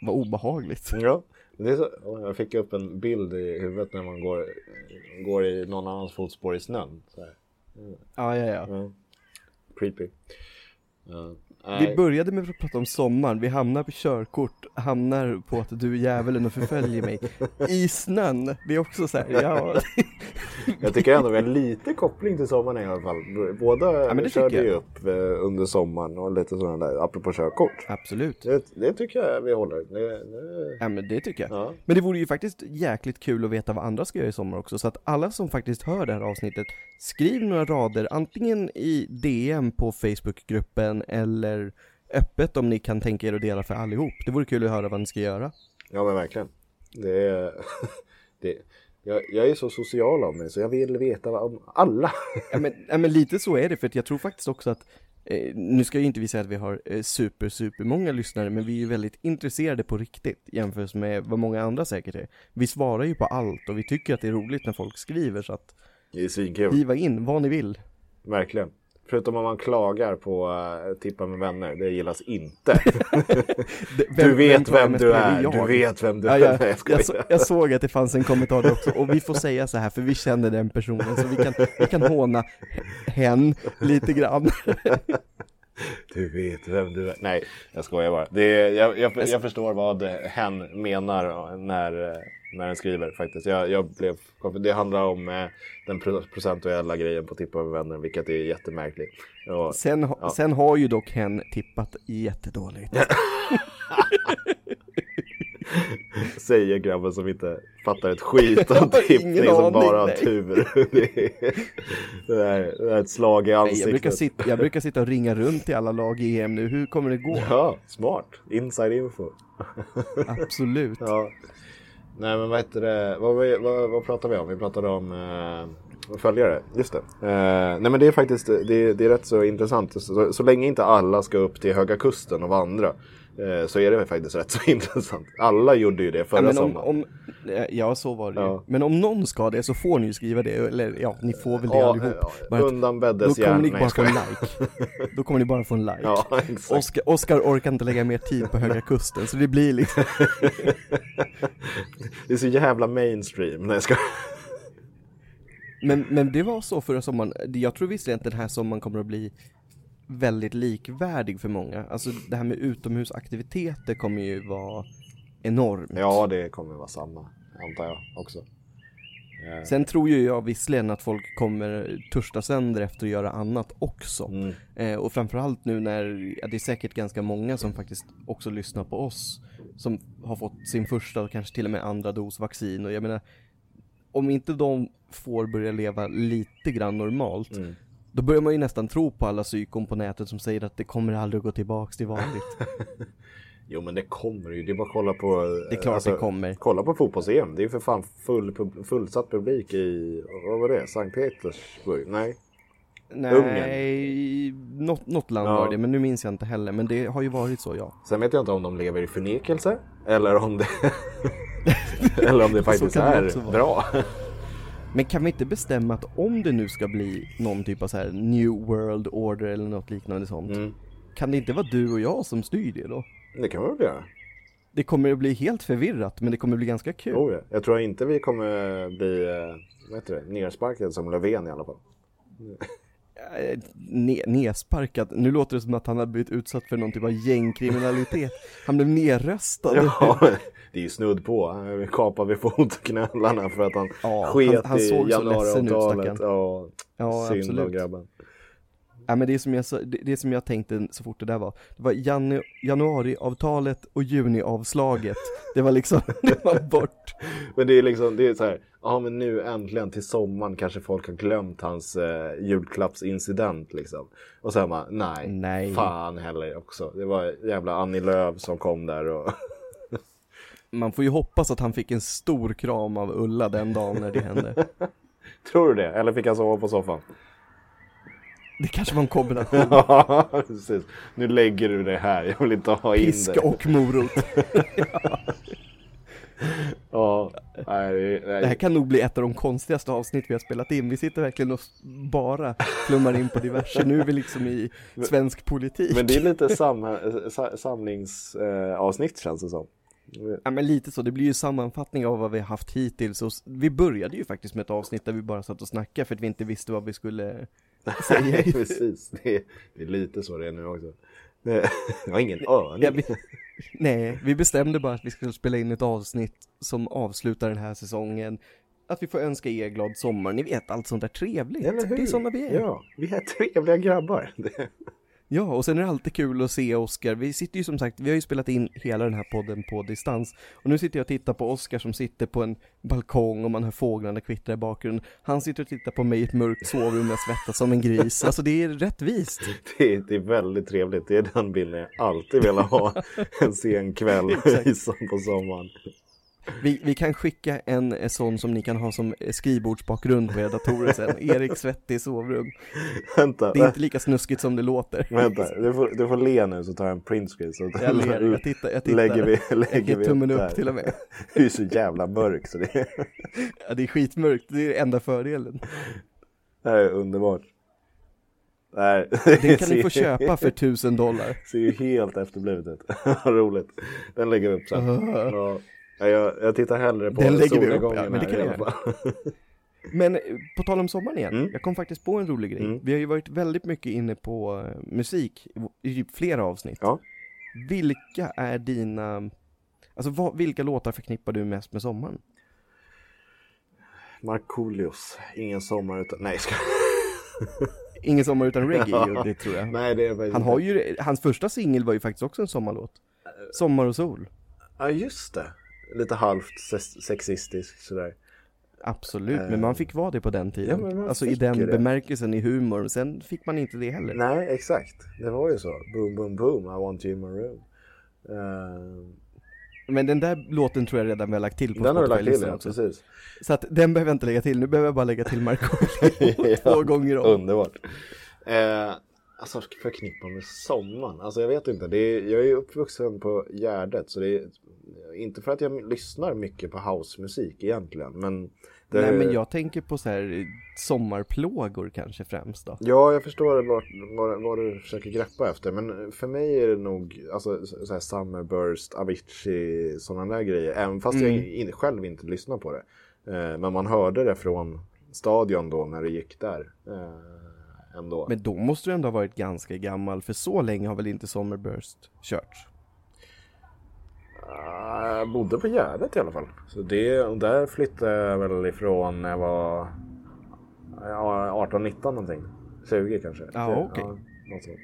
Speaker 2: Vad obehagligt.
Speaker 1: Ja, det är så, Åh, jag fick upp en bild i huvudet när man går, går i någon annans fotspår i snön. Så här.
Speaker 2: Ja, ja, ja.
Speaker 1: Ja. Creepy. Ja.
Speaker 2: Vi
Speaker 1: Nej,
Speaker 2: började med att prata om sommaren, vi hamnar på körkort, hamnar på att du är djävulen och förföljer mig. I snön, det är också så här, ja.
Speaker 1: jag tycker ändå vi har lite koppling till sommaren i alla fall. Båda
Speaker 2: men det
Speaker 1: körde
Speaker 2: tycker
Speaker 1: ju
Speaker 2: jag.
Speaker 1: upp eh, under sommaren och lite sådana där, apropå körkort.
Speaker 2: Absolut.
Speaker 1: Det, det tycker jag vi håller. Det, det,
Speaker 2: Ja men det tycker jag.
Speaker 1: ja.
Speaker 2: Men det vore ju faktiskt jäkligt kul att veta vad andra ska göra i sommar också, så att alla som faktiskt hör det här avsnittet, skriv några rader, antingen i DM på Facebookgruppen eller öppet om ni kan tänka er att dela för allihop. Det vore kul att höra vad ni ska göra.
Speaker 1: Ja men verkligen. Det är, det, jag, jag är så social av mig så jag vill veta om alla.
Speaker 2: Ja men, ja men lite så är det, för att jag tror faktiskt också att eh, nu ska ju inte vi säga att vi har eh, super, super många lyssnare, men vi är ju väldigt intresserade på riktigt jämfört med vad många andra säkert är. Vi svarar ju på allt och vi tycker att det är roligt när folk skriver, så att
Speaker 1: Det är svinkul.
Speaker 2: skriva in vad ni vill.
Speaker 1: Verkligen. Förutom om man klagar på eh, tippa med vänner, det gillas inte.
Speaker 2: D-
Speaker 1: Du vet
Speaker 2: klagar
Speaker 1: vem
Speaker 2: mest
Speaker 1: du
Speaker 2: på det? Det
Speaker 1: är, du
Speaker 2: jag.
Speaker 1: vet vem du
Speaker 2: Ja,
Speaker 1: är.
Speaker 2: jag,
Speaker 1: Nej,
Speaker 2: jag,
Speaker 1: skojar.
Speaker 2: så, jag såg att det fanns en kommentar där också, och vi får säga så här för vi känner den personen, så vi kan, vi kan håna hen lite grann.
Speaker 1: Du vet vem du är. Nej, jag skojar bara. Det är, jag, jag, jag förstår vad hen menar när, eh, när den skriver faktiskt. Jag, jag blev, det handlar om eh, den pro- procentuella grejen på tippa med vänner, vilket är jättemärkligt. Och,
Speaker 2: Sen, ha- sen har ju dock hen tippat jättedåligt.
Speaker 1: Säger grabben som inte fattar ett skit
Speaker 2: Jag
Speaker 1: av
Speaker 2: har
Speaker 1: tippning
Speaker 2: ingen
Speaker 1: som
Speaker 2: aning,
Speaker 1: bara har
Speaker 2: nej.
Speaker 1: tur. Det är, det är- det är ett slag i
Speaker 2: Nej,
Speaker 1: ansiktet.
Speaker 2: jag, brukar sitta, jag brukar sitta och ringa runt till alla lag i EM nu, hur kommer det gå?
Speaker 1: Ja, smart. Inside info.
Speaker 2: Absolut.
Speaker 1: Ja. Nej men vad heter det, vad, vad, vad, vad pratade vi om? Vi pratade om eh, följare, just det. Eh, nej men det är faktiskt, det är, det är rätt så intressant. Så, så länge inte alla ska upp till Höga Kusten och vandra eh, så är det faktiskt rätt så intressant. Alla gjorde ju det förra
Speaker 2: Ja, men om,
Speaker 1: sommaren.
Speaker 2: om, eh, ja, så var det ju.
Speaker 1: Ja.
Speaker 2: Men om någon ska det så får ni ju skriva det, eller ja, ni får väl det
Speaker 1: Ja,
Speaker 2: allihop.
Speaker 1: ja,
Speaker 2: Bara att
Speaker 1: undan
Speaker 2: då
Speaker 1: bäddes
Speaker 2: kommer ni
Speaker 1: Nej,
Speaker 2: bara
Speaker 1: jag
Speaker 2: få en like. Då kommer ni bara få en like.
Speaker 1: Ja, exakt.
Speaker 2: Oskar, Oskar orkar inte lägga mer tid på Höga Kusten, så det blir liksom,
Speaker 1: Det är så jävla mainstream. Nej, jag ska...
Speaker 2: men, men det var så förra sommaren, jag tror visserligen att den här sommaren kommer att bli väldigt likvärdig för många. Alltså det här med utomhusaktiviteter kommer ju vara enormt.
Speaker 1: Ja, det kommer vara samma, antar jag också.
Speaker 2: Sen tror ju jag visserligen att folk kommer törsta sönder efter att göra annat också. Eh, och framförallt nu när, ja, det är säkert ganska många som faktiskt också lyssnar på oss, som har fått sin första och kanske till och med andra dos vaccin. Och jag menar, om inte de får börja leva lite grann normalt, då börjar man ju nästan tro på alla psykon på nätet som säger att det kommer aldrig att gå tillbaks till vanligt.
Speaker 1: Jo, men det kommer ju. Det är bara att kolla på... eh,
Speaker 2: Det är klart
Speaker 1: Alltså,
Speaker 2: det kommer.
Speaker 1: Kolla på fotbolls-EM. Det är ju för fan full, pub- fullsatt publik i... Vad var det? Sankt Petersburg? Nej,
Speaker 2: Nej, något, något land
Speaker 1: Ja.
Speaker 2: var det, men nu minns jag inte heller. Men det har ju varit så, ja.
Speaker 1: Sen vet jag inte om de lever i förnekelse eller om det, eller om det faktiskt
Speaker 2: kan det
Speaker 1: är
Speaker 2: också vara.
Speaker 1: bra.
Speaker 2: Men kan vi inte bestämma att om det nu ska bli någon typ av så här New World Order eller något liknande sånt,
Speaker 1: Mm.
Speaker 2: kan det inte vara du och jag som styr det då?
Speaker 1: Det kan man väl göra.
Speaker 2: Det kommer att bli helt förvirrat, men det kommer att bli ganska kul.
Speaker 1: Oh, ja. Jag tror inte vi kommer bli eh, vad heter det, nersparkade som Löfven i alla fall.
Speaker 2: Eh, Ne- nedsparkad. Nu låter det som att han har blivit utsatt för någon typ av gängkriminalitet. Han blev nerröstad.
Speaker 1: Ja, det är ju snudd på. Han kapar vid fotknölarna för att han
Speaker 2: Ja,
Speaker 1: sket
Speaker 2: han- han såg
Speaker 1: i
Speaker 2: så ledsen ut,
Speaker 1: januariavtalet.
Speaker 2: stackarn.
Speaker 1: Ja,
Speaker 2: Ja,
Speaker 1: synd om
Speaker 2: absolut.
Speaker 1: grabben.
Speaker 2: Ja, men det, är som jag, sa- det, det är som jag tänkte så fort det där var, det var janu, januariavtalet och juniavslaget. Det var liksom, det var bort.
Speaker 1: Men det är liksom, det är så här, ja men nu äntligen till sommaren kanske folk har glömt hans eh, julklappsincident liksom. Och sen bara, nej,
Speaker 2: Nej.
Speaker 1: fan heller också. Det var jävla Annie Lööf som kom där och
Speaker 2: Man får ju hoppas att han fick en stor kram av Ulla den dagen när det hände.
Speaker 1: Tror du det? Eller fick han sova på soffan?
Speaker 2: Det kanske var en kombination,
Speaker 1: Ja, precis. Nu lägger du det här, jag vill inte ha in
Speaker 2: piska
Speaker 1: det.
Speaker 2: och morot.
Speaker 1: Ja, nej, det- nej.
Speaker 2: Det här kan nog bli ett av de konstigaste avsnitt vi har spelat in. Vi sitter verkligen och bara flummar in på diverse. Nu är vi liksom i svensk politik.
Speaker 1: Men det är lite sam- eh, samlingsavsnitt eh, känns det som.
Speaker 2: Ja men lite så, det blir ju sammanfattning av vad vi har haft hittills och s- vi började ju faktiskt med ett avsnitt där vi bara satt och snackade för att vi inte visste vad vi skulle säga.
Speaker 1: Nej, precis. Det är, det är lite så det är nu också. Det- Jag har ingen aning.
Speaker 2: Ja, vi, nej, vi bestämde bara att vi skulle spela in ett avsnitt som avslutar den här säsongen. Att vi får önska er glad sommar, ni vet allt sånt där trevligt.
Speaker 1: Eller hur?
Speaker 2: Det är såna vi är. Ja.
Speaker 1: Ja, vi är trevliga grabbar. Det-
Speaker 2: och sen är det alltid kul att se Oscar. Vi sitter ju som sagt, vi har ju spelat in hela den här podden på distans. Och nu sitter jag och tittar på Oscar som sitter på en balkong och man hör fåglarna kvittra i bakgrunden. Han sitter och tittar på mig i ett mörkt sovrum och jag svettas som en gris. Alltså det är rättvist.
Speaker 1: Det är, det är väldigt trevligt. Det är den bilden jag alltid velat ha en sen kväll i som på sommaren.
Speaker 2: Vi, vi kan skicka en eh, sån som ni kan ha som eh, skrivbordsbakgrund på era datorer sen. Erik svettig sovrum.
Speaker 1: Vänta,
Speaker 2: Det är inte lika snuskigt som det låter.
Speaker 1: vänta. Du får, du får le nu så tar jag en printscreen. Så
Speaker 2: Jag ler, jag tittar, jag tittar.
Speaker 1: lägger vi,
Speaker 2: jag
Speaker 1: lägger
Speaker 2: ger
Speaker 1: vi
Speaker 2: tummen
Speaker 1: där.
Speaker 2: upp till och med.
Speaker 1: Du är så jävla mörk så det är,
Speaker 2: Ja, det är skitmörkt, det är enda fördelen.
Speaker 1: det här är underbart. Det, här,
Speaker 2: Den kan ni få köpa för tusen dollar.
Speaker 1: Ser ju helt efterblivet ut. Vad Roligt. Den lägger vi upp sen. Ja. Ja, Jag, jag tittar hellre på
Speaker 2: Den lägger vi upp,
Speaker 1: solnedgången
Speaker 2: ja, men det
Speaker 1: här
Speaker 2: kan
Speaker 1: i
Speaker 2: jag
Speaker 1: alla fall.
Speaker 2: Men eh, på tal om sommaren igen,
Speaker 1: Mm.
Speaker 2: jag kom faktiskt på en rolig grej.
Speaker 1: Mm.
Speaker 2: Vi har ju varit väldigt mycket inne på eh, musik i v- i typ flera avsnitt.
Speaker 1: Ja.
Speaker 2: Vilka är dina, alltså vad, vilka låtar förknippar du mest med sommaren?
Speaker 1: Markoolios, ingen sommar utan... Nej, ska...
Speaker 2: Ingen sommar utan reggae,
Speaker 1: Ja.
Speaker 2: ju, det tror jag.
Speaker 1: Nej det är faktiskt
Speaker 2: Han har
Speaker 1: inte.
Speaker 2: ju, hans första singel var ju faktiskt också en sommarlåt. Sommar och sol,
Speaker 1: Ja, just det. Lite halvt se- sexistisk sådär.
Speaker 2: absolut, men man fick vara det på
Speaker 1: Ehm,
Speaker 2: den
Speaker 1: Ja,
Speaker 2: tiden.
Speaker 1: men man
Speaker 2: alltså i
Speaker 1: fick
Speaker 2: den
Speaker 1: ju det.
Speaker 2: bemärkelsen i humor, sen fick man inte det heller.
Speaker 1: Nej, exakt. Det var ju så. Boom, boom, boom, I want you in my room. Ehm,
Speaker 2: Men den där låten tror jag redan vi har lagt till på
Speaker 1: den har du lagt till,
Speaker 2: Spotify-listan
Speaker 1: ja,
Speaker 2: också.
Speaker 1: precis.
Speaker 2: Så att den behöver jag inte lägga till, nu behöver jag bara lägga till Markoolio två
Speaker 1: Ja.
Speaker 2: gånger om.
Speaker 1: Underbart. Eh, alltså förknippa med sommaren. Alltså jag vet inte. Det är, jag är ju uppvuxen på Gärdet. Så det är inte för att jag lyssnar mycket på housemusik egentligen. Men det,
Speaker 2: Nej men jag tänker på så här eh, sommarplågor kanske främst då.
Speaker 1: Ja, jag förstår vad, vad, vad du försöker greppa efter. Men för mig är det nog alltså, så så här Summerburst, Avicii, sådana där grejer. Även fast
Speaker 2: Mm.
Speaker 1: jag in, själv inte lyssnar på det. Eh, men man hörde det från stadion då när det gick där. Eh, ändå.
Speaker 2: Men då måste du ändå ha varit ganska gammal, för så länge har väl inte Summerburst kört?
Speaker 1: Ah, Jag bodde på Gärdet i alla fall. Så det, och där flyttade jag väl ifrån när jag var ja, 18-19 någonting. 20 kanske.
Speaker 2: Ja, okej.
Speaker 1: något sånt.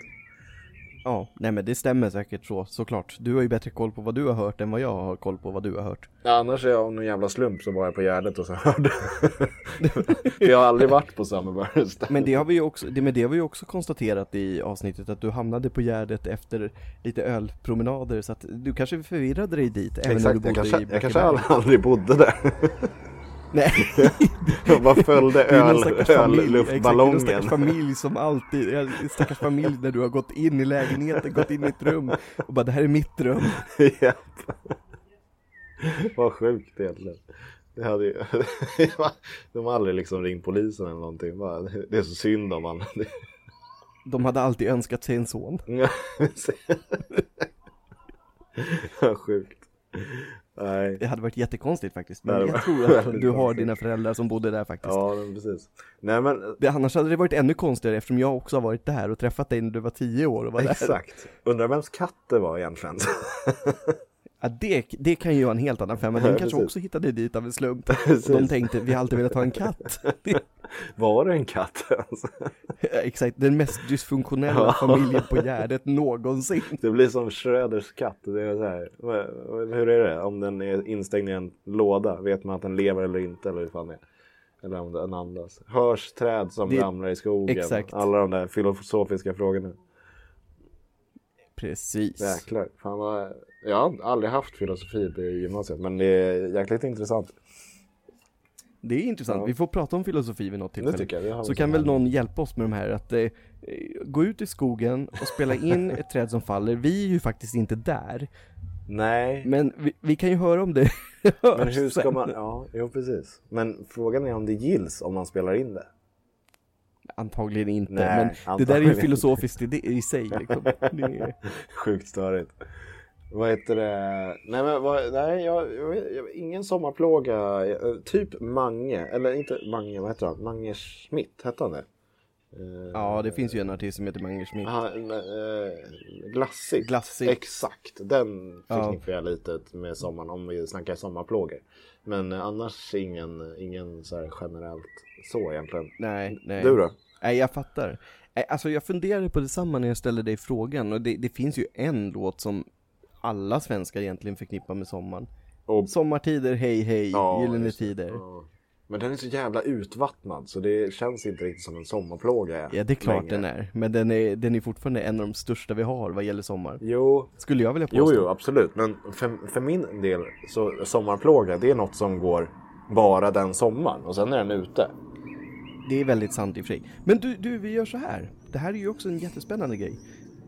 Speaker 2: Ja, nej men det stämmer säkert så, såklart. Du har ju bättre koll på vad du har hört än vad jag har koll på vad du har hört.
Speaker 1: Ja, annars är jag av någon jävla slump så var jag på Gärdet och så hörde jag. jag har aldrig varit på Summerburst.
Speaker 2: Men det har vi ju också, det, men det har vi ju också konstaterat i avsnittet att du hamnade på Gärdet efter lite ölpromenader så att du kanske förvirrade dig dit även när du
Speaker 1: Exakt,
Speaker 2: bodde
Speaker 1: jag
Speaker 2: i
Speaker 1: kanske, jag kanske
Speaker 2: Brackeberg.
Speaker 1: aldrig, aldrig bodde där.
Speaker 2: Nej,
Speaker 1: De bara följde
Speaker 2: det är någon stackars
Speaker 1: öl,
Speaker 2: familj. Ja, exakt, det är någon
Speaker 1: ölluftballongen.
Speaker 2: stackars familj som alltid, ja, det är en stackars familj där du har gått in i lägenheten, gått in i ett rum och bara det här är mitt rum.
Speaker 1: Japp. Vad sjukt egentligen. Det hade ju... De har aldrig liksom ringt polisen eller någonting. Bara, Det är så synd om man.
Speaker 2: De hade alltid önskat sig en son.
Speaker 1: Ja, precis. Vad sjukt. Nej.
Speaker 2: Det hade varit jättekonstigt faktiskt.
Speaker 1: Det
Speaker 2: Men
Speaker 1: hade
Speaker 2: jag
Speaker 1: varit
Speaker 2: tror att
Speaker 1: väldigt
Speaker 2: du har
Speaker 1: konstigt.
Speaker 2: dina föräldrar som bodde där faktiskt.
Speaker 1: Ja, men precis. Nej men
Speaker 2: Det, annars hade det varit ännu konstigare eftersom jag också har varit där och träffat dig när du var tio år och var där.
Speaker 1: exakt. Undrar vems katt det var egentligen.
Speaker 2: Ja, det, det kan ju vara en helt annan femma. Den
Speaker 1: Ja,
Speaker 2: kanske
Speaker 1: precis.
Speaker 2: också hittade dit av en slump.
Speaker 1: Precis.
Speaker 2: Och de tänkte, vi har alltid velat ha en katt. Det,
Speaker 1: Var det en katt ens?
Speaker 2: exakt, den mest dysfunktionella familjen på Gärdet någonsin.
Speaker 1: Det blir som Schröders katt. Det är så här, vad- hur är det? Om den är instängd i en låda, vet man att den lever eller inte? Eller hur fan det är? Eller om den andas. Hörs träd som
Speaker 2: Det-
Speaker 1: ramlar i skogen?
Speaker 2: Exakt.
Speaker 1: Alla de där filosofiska frågorna.
Speaker 2: Precis.
Speaker 1: Jäklar. Fan vad... Jag har aldrig haft filosofi på gymnasiet, men det är jäkligt intressant.
Speaker 2: Det är intressant.
Speaker 1: Ja.
Speaker 2: Vi får prata om filosofi vid något
Speaker 1: Det
Speaker 2: tillfälle.
Speaker 1: tycker jag. Det har vi
Speaker 2: Så
Speaker 1: som
Speaker 2: kan väl
Speaker 1: ämne.
Speaker 2: någon hjälpa oss med de här att eh, eh, gå ut i skogen och spela in ett träd som faller. Vi är ju faktiskt inte där,
Speaker 1: Nej,
Speaker 2: men vi, vi kan ju höra om det
Speaker 1: men
Speaker 2: hörs
Speaker 1: hur ska
Speaker 2: sen.
Speaker 1: man... Ja, jo precis. Men frågan är om det gills om man spelar in det.
Speaker 2: Antagligen inte,
Speaker 1: Nej,
Speaker 2: men det där är
Speaker 1: antagligen
Speaker 2: ju
Speaker 1: inte.
Speaker 2: filosofiskt i, det- i sig. Liksom. Det är-
Speaker 1: Sjukt störigt. Vad heter det? Nej, men vad, nej jag, jag, jag, ingen sommarplåga. Eh, Typ Mange, eller inte Mange, vad heter han? Mange Schmidt, hette han det? Eh,
Speaker 2: Ja, det finns ju en artist som heter Mange Schmidt.
Speaker 1: Han, eh, glassigt.
Speaker 2: Glassigt.
Speaker 1: Exakt, den
Speaker 2: Ja.
Speaker 1: förknippar jag lite med sommaren om vi snackar sommarplågor. Men eh, annars ingen, ingen så här generellt så egentligen.
Speaker 2: Nej, nej.
Speaker 1: Du då?
Speaker 2: Nej, jag fattar. Nej, Alltså jag funderade på detsamma när jag ställde dig frågan och det, det finns ju en låt som alla svenskar egentligen förknippar med sommaren.
Speaker 1: Och-
Speaker 2: Sommartider, hej hej,
Speaker 1: Ja,
Speaker 2: gyllene
Speaker 1: just det.
Speaker 2: tider.
Speaker 1: Ja. Men den är så jävla utvattnad så det känns inte riktigt som en sommarplåga.
Speaker 2: Ja, det är klart
Speaker 1: längre.
Speaker 2: den är. Men den är, den är fortfarande en av de största vi har vad gäller sommar.
Speaker 1: Jo,
Speaker 2: Skulle jag vilja
Speaker 1: jo,
Speaker 2: påstå.
Speaker 1: jo, absolut. Men för, för min del så sommarplåga, det är något som går bara den sommaren och sen är den ute.
Speaker 2: Det är väldigt sant i och för sig. Men du, du, vi gör så här. Det här är ju också en jättespännande grej.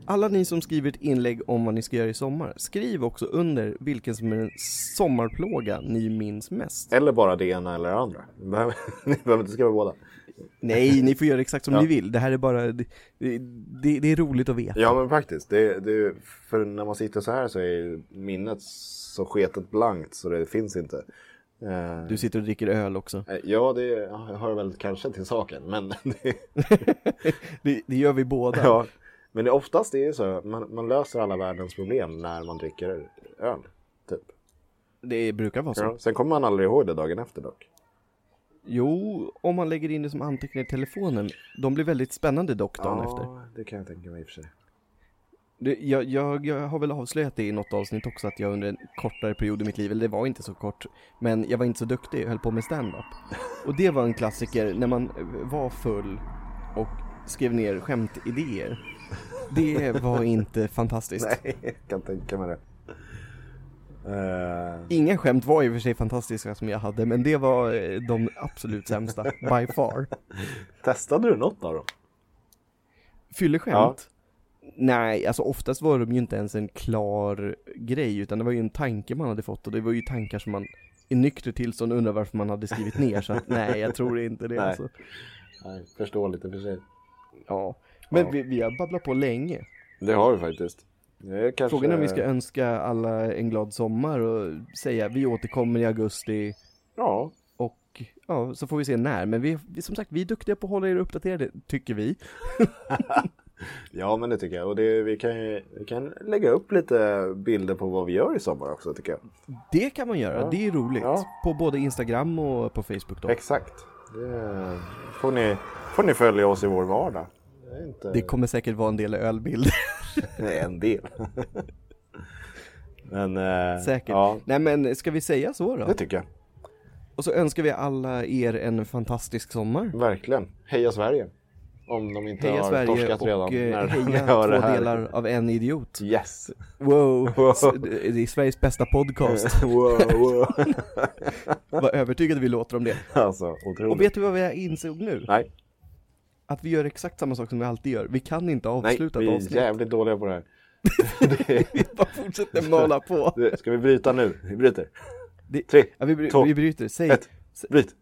Speaker 2: Alla ni som skriver ett inlägg om vad ni ska göra i sommar, skriv också under vilken som är den sommarplåga ni minns mest.
Speaker 1: Eller bara det ena eller det andra. Ni behöver, ni behöver inte skriva båda.
Speaker 2: Nej, ni får göra exakt som
Speaker 1: Ja.
Speaker 2: ni vill. Det här är bara, det, det, det är roligt att veta.
Speaker 1: Ja, men faktiskt. Det, det, för när man sitter så här så är ju minnet så sketet blankt så det finns inte. Eh,
Speaker 2: Du sitter och dricker öl också.
Speaker 1: eh, Ja, det hör väl kanske till saken, men det,
Speaker 2: Det, det gör vi båda.
Speaker 1: Ja, men det oftast är det så. Man, man löser alla världens problem när man dricker öl. Typ.
Speaker 2: Det brukar vara så.
Speaker 1: Ja. Sen kommer man aldrig ihåg det dagen efter dock.
Speaker 2: Jo, om man lägger in det som anteckningar i telefonen. De blir väldigt spännande dock dagen efter.
Speaker 1: det kan jag tänka mig i och för sig.
Speaker 2: Det, jag, jag, jag har väl avslöjat det i något avsnitt också att jag under en kortare period i mitt liv, eller det var inte så kort, men jag var inte så duktig, jag höll på med stand-up. Och det var en klassiker när man eh, var full och skrev ner skämtidéer. Det var inte fantastiskt.
Speaker 1: Nej, jag kan tänka mig det. Eh,
Speaker 2: Inga skämt var i och för sig fantastiska som jag hade, men det var eh, de absolut sämsta, by far.
Speaker 1: testade du något av dem?
Speaker 2: Fylleskämt? Nej, alltså oftast var de ju inte ens en klar grej, utan det var ju en tanke man hade fått och det var ju tankar som man i nykter tillstånd undrar varför man hade skrivit ner, så att nej, jag tror inte det.
Speaker 1: Nej.
Speaker 2: Alltså.
Speaker 1: Nej, förstår lite för sig.
Speaker 2: Ja. Men
Speaker 1: Ja.
Speaker 2: Vi, vi har babblat på länge.
Speaker 1: Det har vi faktiskt. Det är kanske...
Speaker 2: Frågan är om vi ska önska alla en glad sommar och säga vi återkommer i augusti
Speaker 1: Ja,
Speaker 2: och ja, så får vi se när. Men vi, vi- som sagt, vi är duktiga på att hålla er uppdaterade, tycker vi.
Speaker 1: ja men det tycker jag. Och det, vi, kan ju, vi kan lägga upp lite bilder på vad vi gör i sommar också tycker jag.
Speaker 2: Det kan man göra,
Speaker 1: Ja.
Speaker 2: det är roligt.
Speaker 1: Ja.
Speaker 2: På både Instagram och på Facebook då.
Speaker 1: Exakt. Det får ni, får ni följa oss i vår vardag. Det är inte...
Speaker 2: Det kommer säkert vara en del ölbilder.
Speaker 1: Nej, en del. Men, eh,
Speaker 2: Säkert.
Speaker 1: Ja,
Speaker 2: Nej men ska vi säga så
Speaker 1: det
Speaker 2: då?
Speaker 1: tycker jag.
Speaker 2: Och så önskar vi alla er en fantastisk sommar.
Speaker 1: Verkligen. Heja Sverige. Om de inte
Speaker 2: Heja
Speaker 1: har
Speaker 2: Sverige
Speaker 1: torskat
Speaker 2: och
Speaker 1: redan.
Speaker 2: eh,
Speaker 1: när, när jag
Speaker 2: heja
Speaker 1: hör det
Speaker 2: två
Speaker 1: här.
Speaker 2: delar av en idiot.
Speaker 1: Yes!
Speaker 2: Wow,
Speaker 1: Wow.
Speaker 2: S- det är Sveriges bästa podcast.
Speaker 1: wow, wow.
Speaker 2: Vad övertygade vi låter om det.
Speaker 1: Alltså, otroligt.
Speaker 2: Och vet du vad jag insåg nu?
Speaker 1: Nej,
Speaker 2: Att vi gör exakt samma sak som vi alltid gör. Vi kan inte
Speaker 1: nej,
Speaker 2: avsluta
Speaker 1: vi
Speaker 2: ett
Speaker 1: är
Speaker 2: avsnitt.
Speaker 1: jävligt dåliga på det här.
Speaker 2: Vi bara fortsätter mala på.
Speaker 1: Det- Ska vi bryta nu? Vi bryter.
Speaker 2: Det-
Speaker 1: Tre,
Speaker 2: Ja, vi, bry-
Speaker 1: Två,
Speaker 2: vi bryter, säg.
Speaker 1: ett.
Speaker 2: s-
Speaker 1: bryt!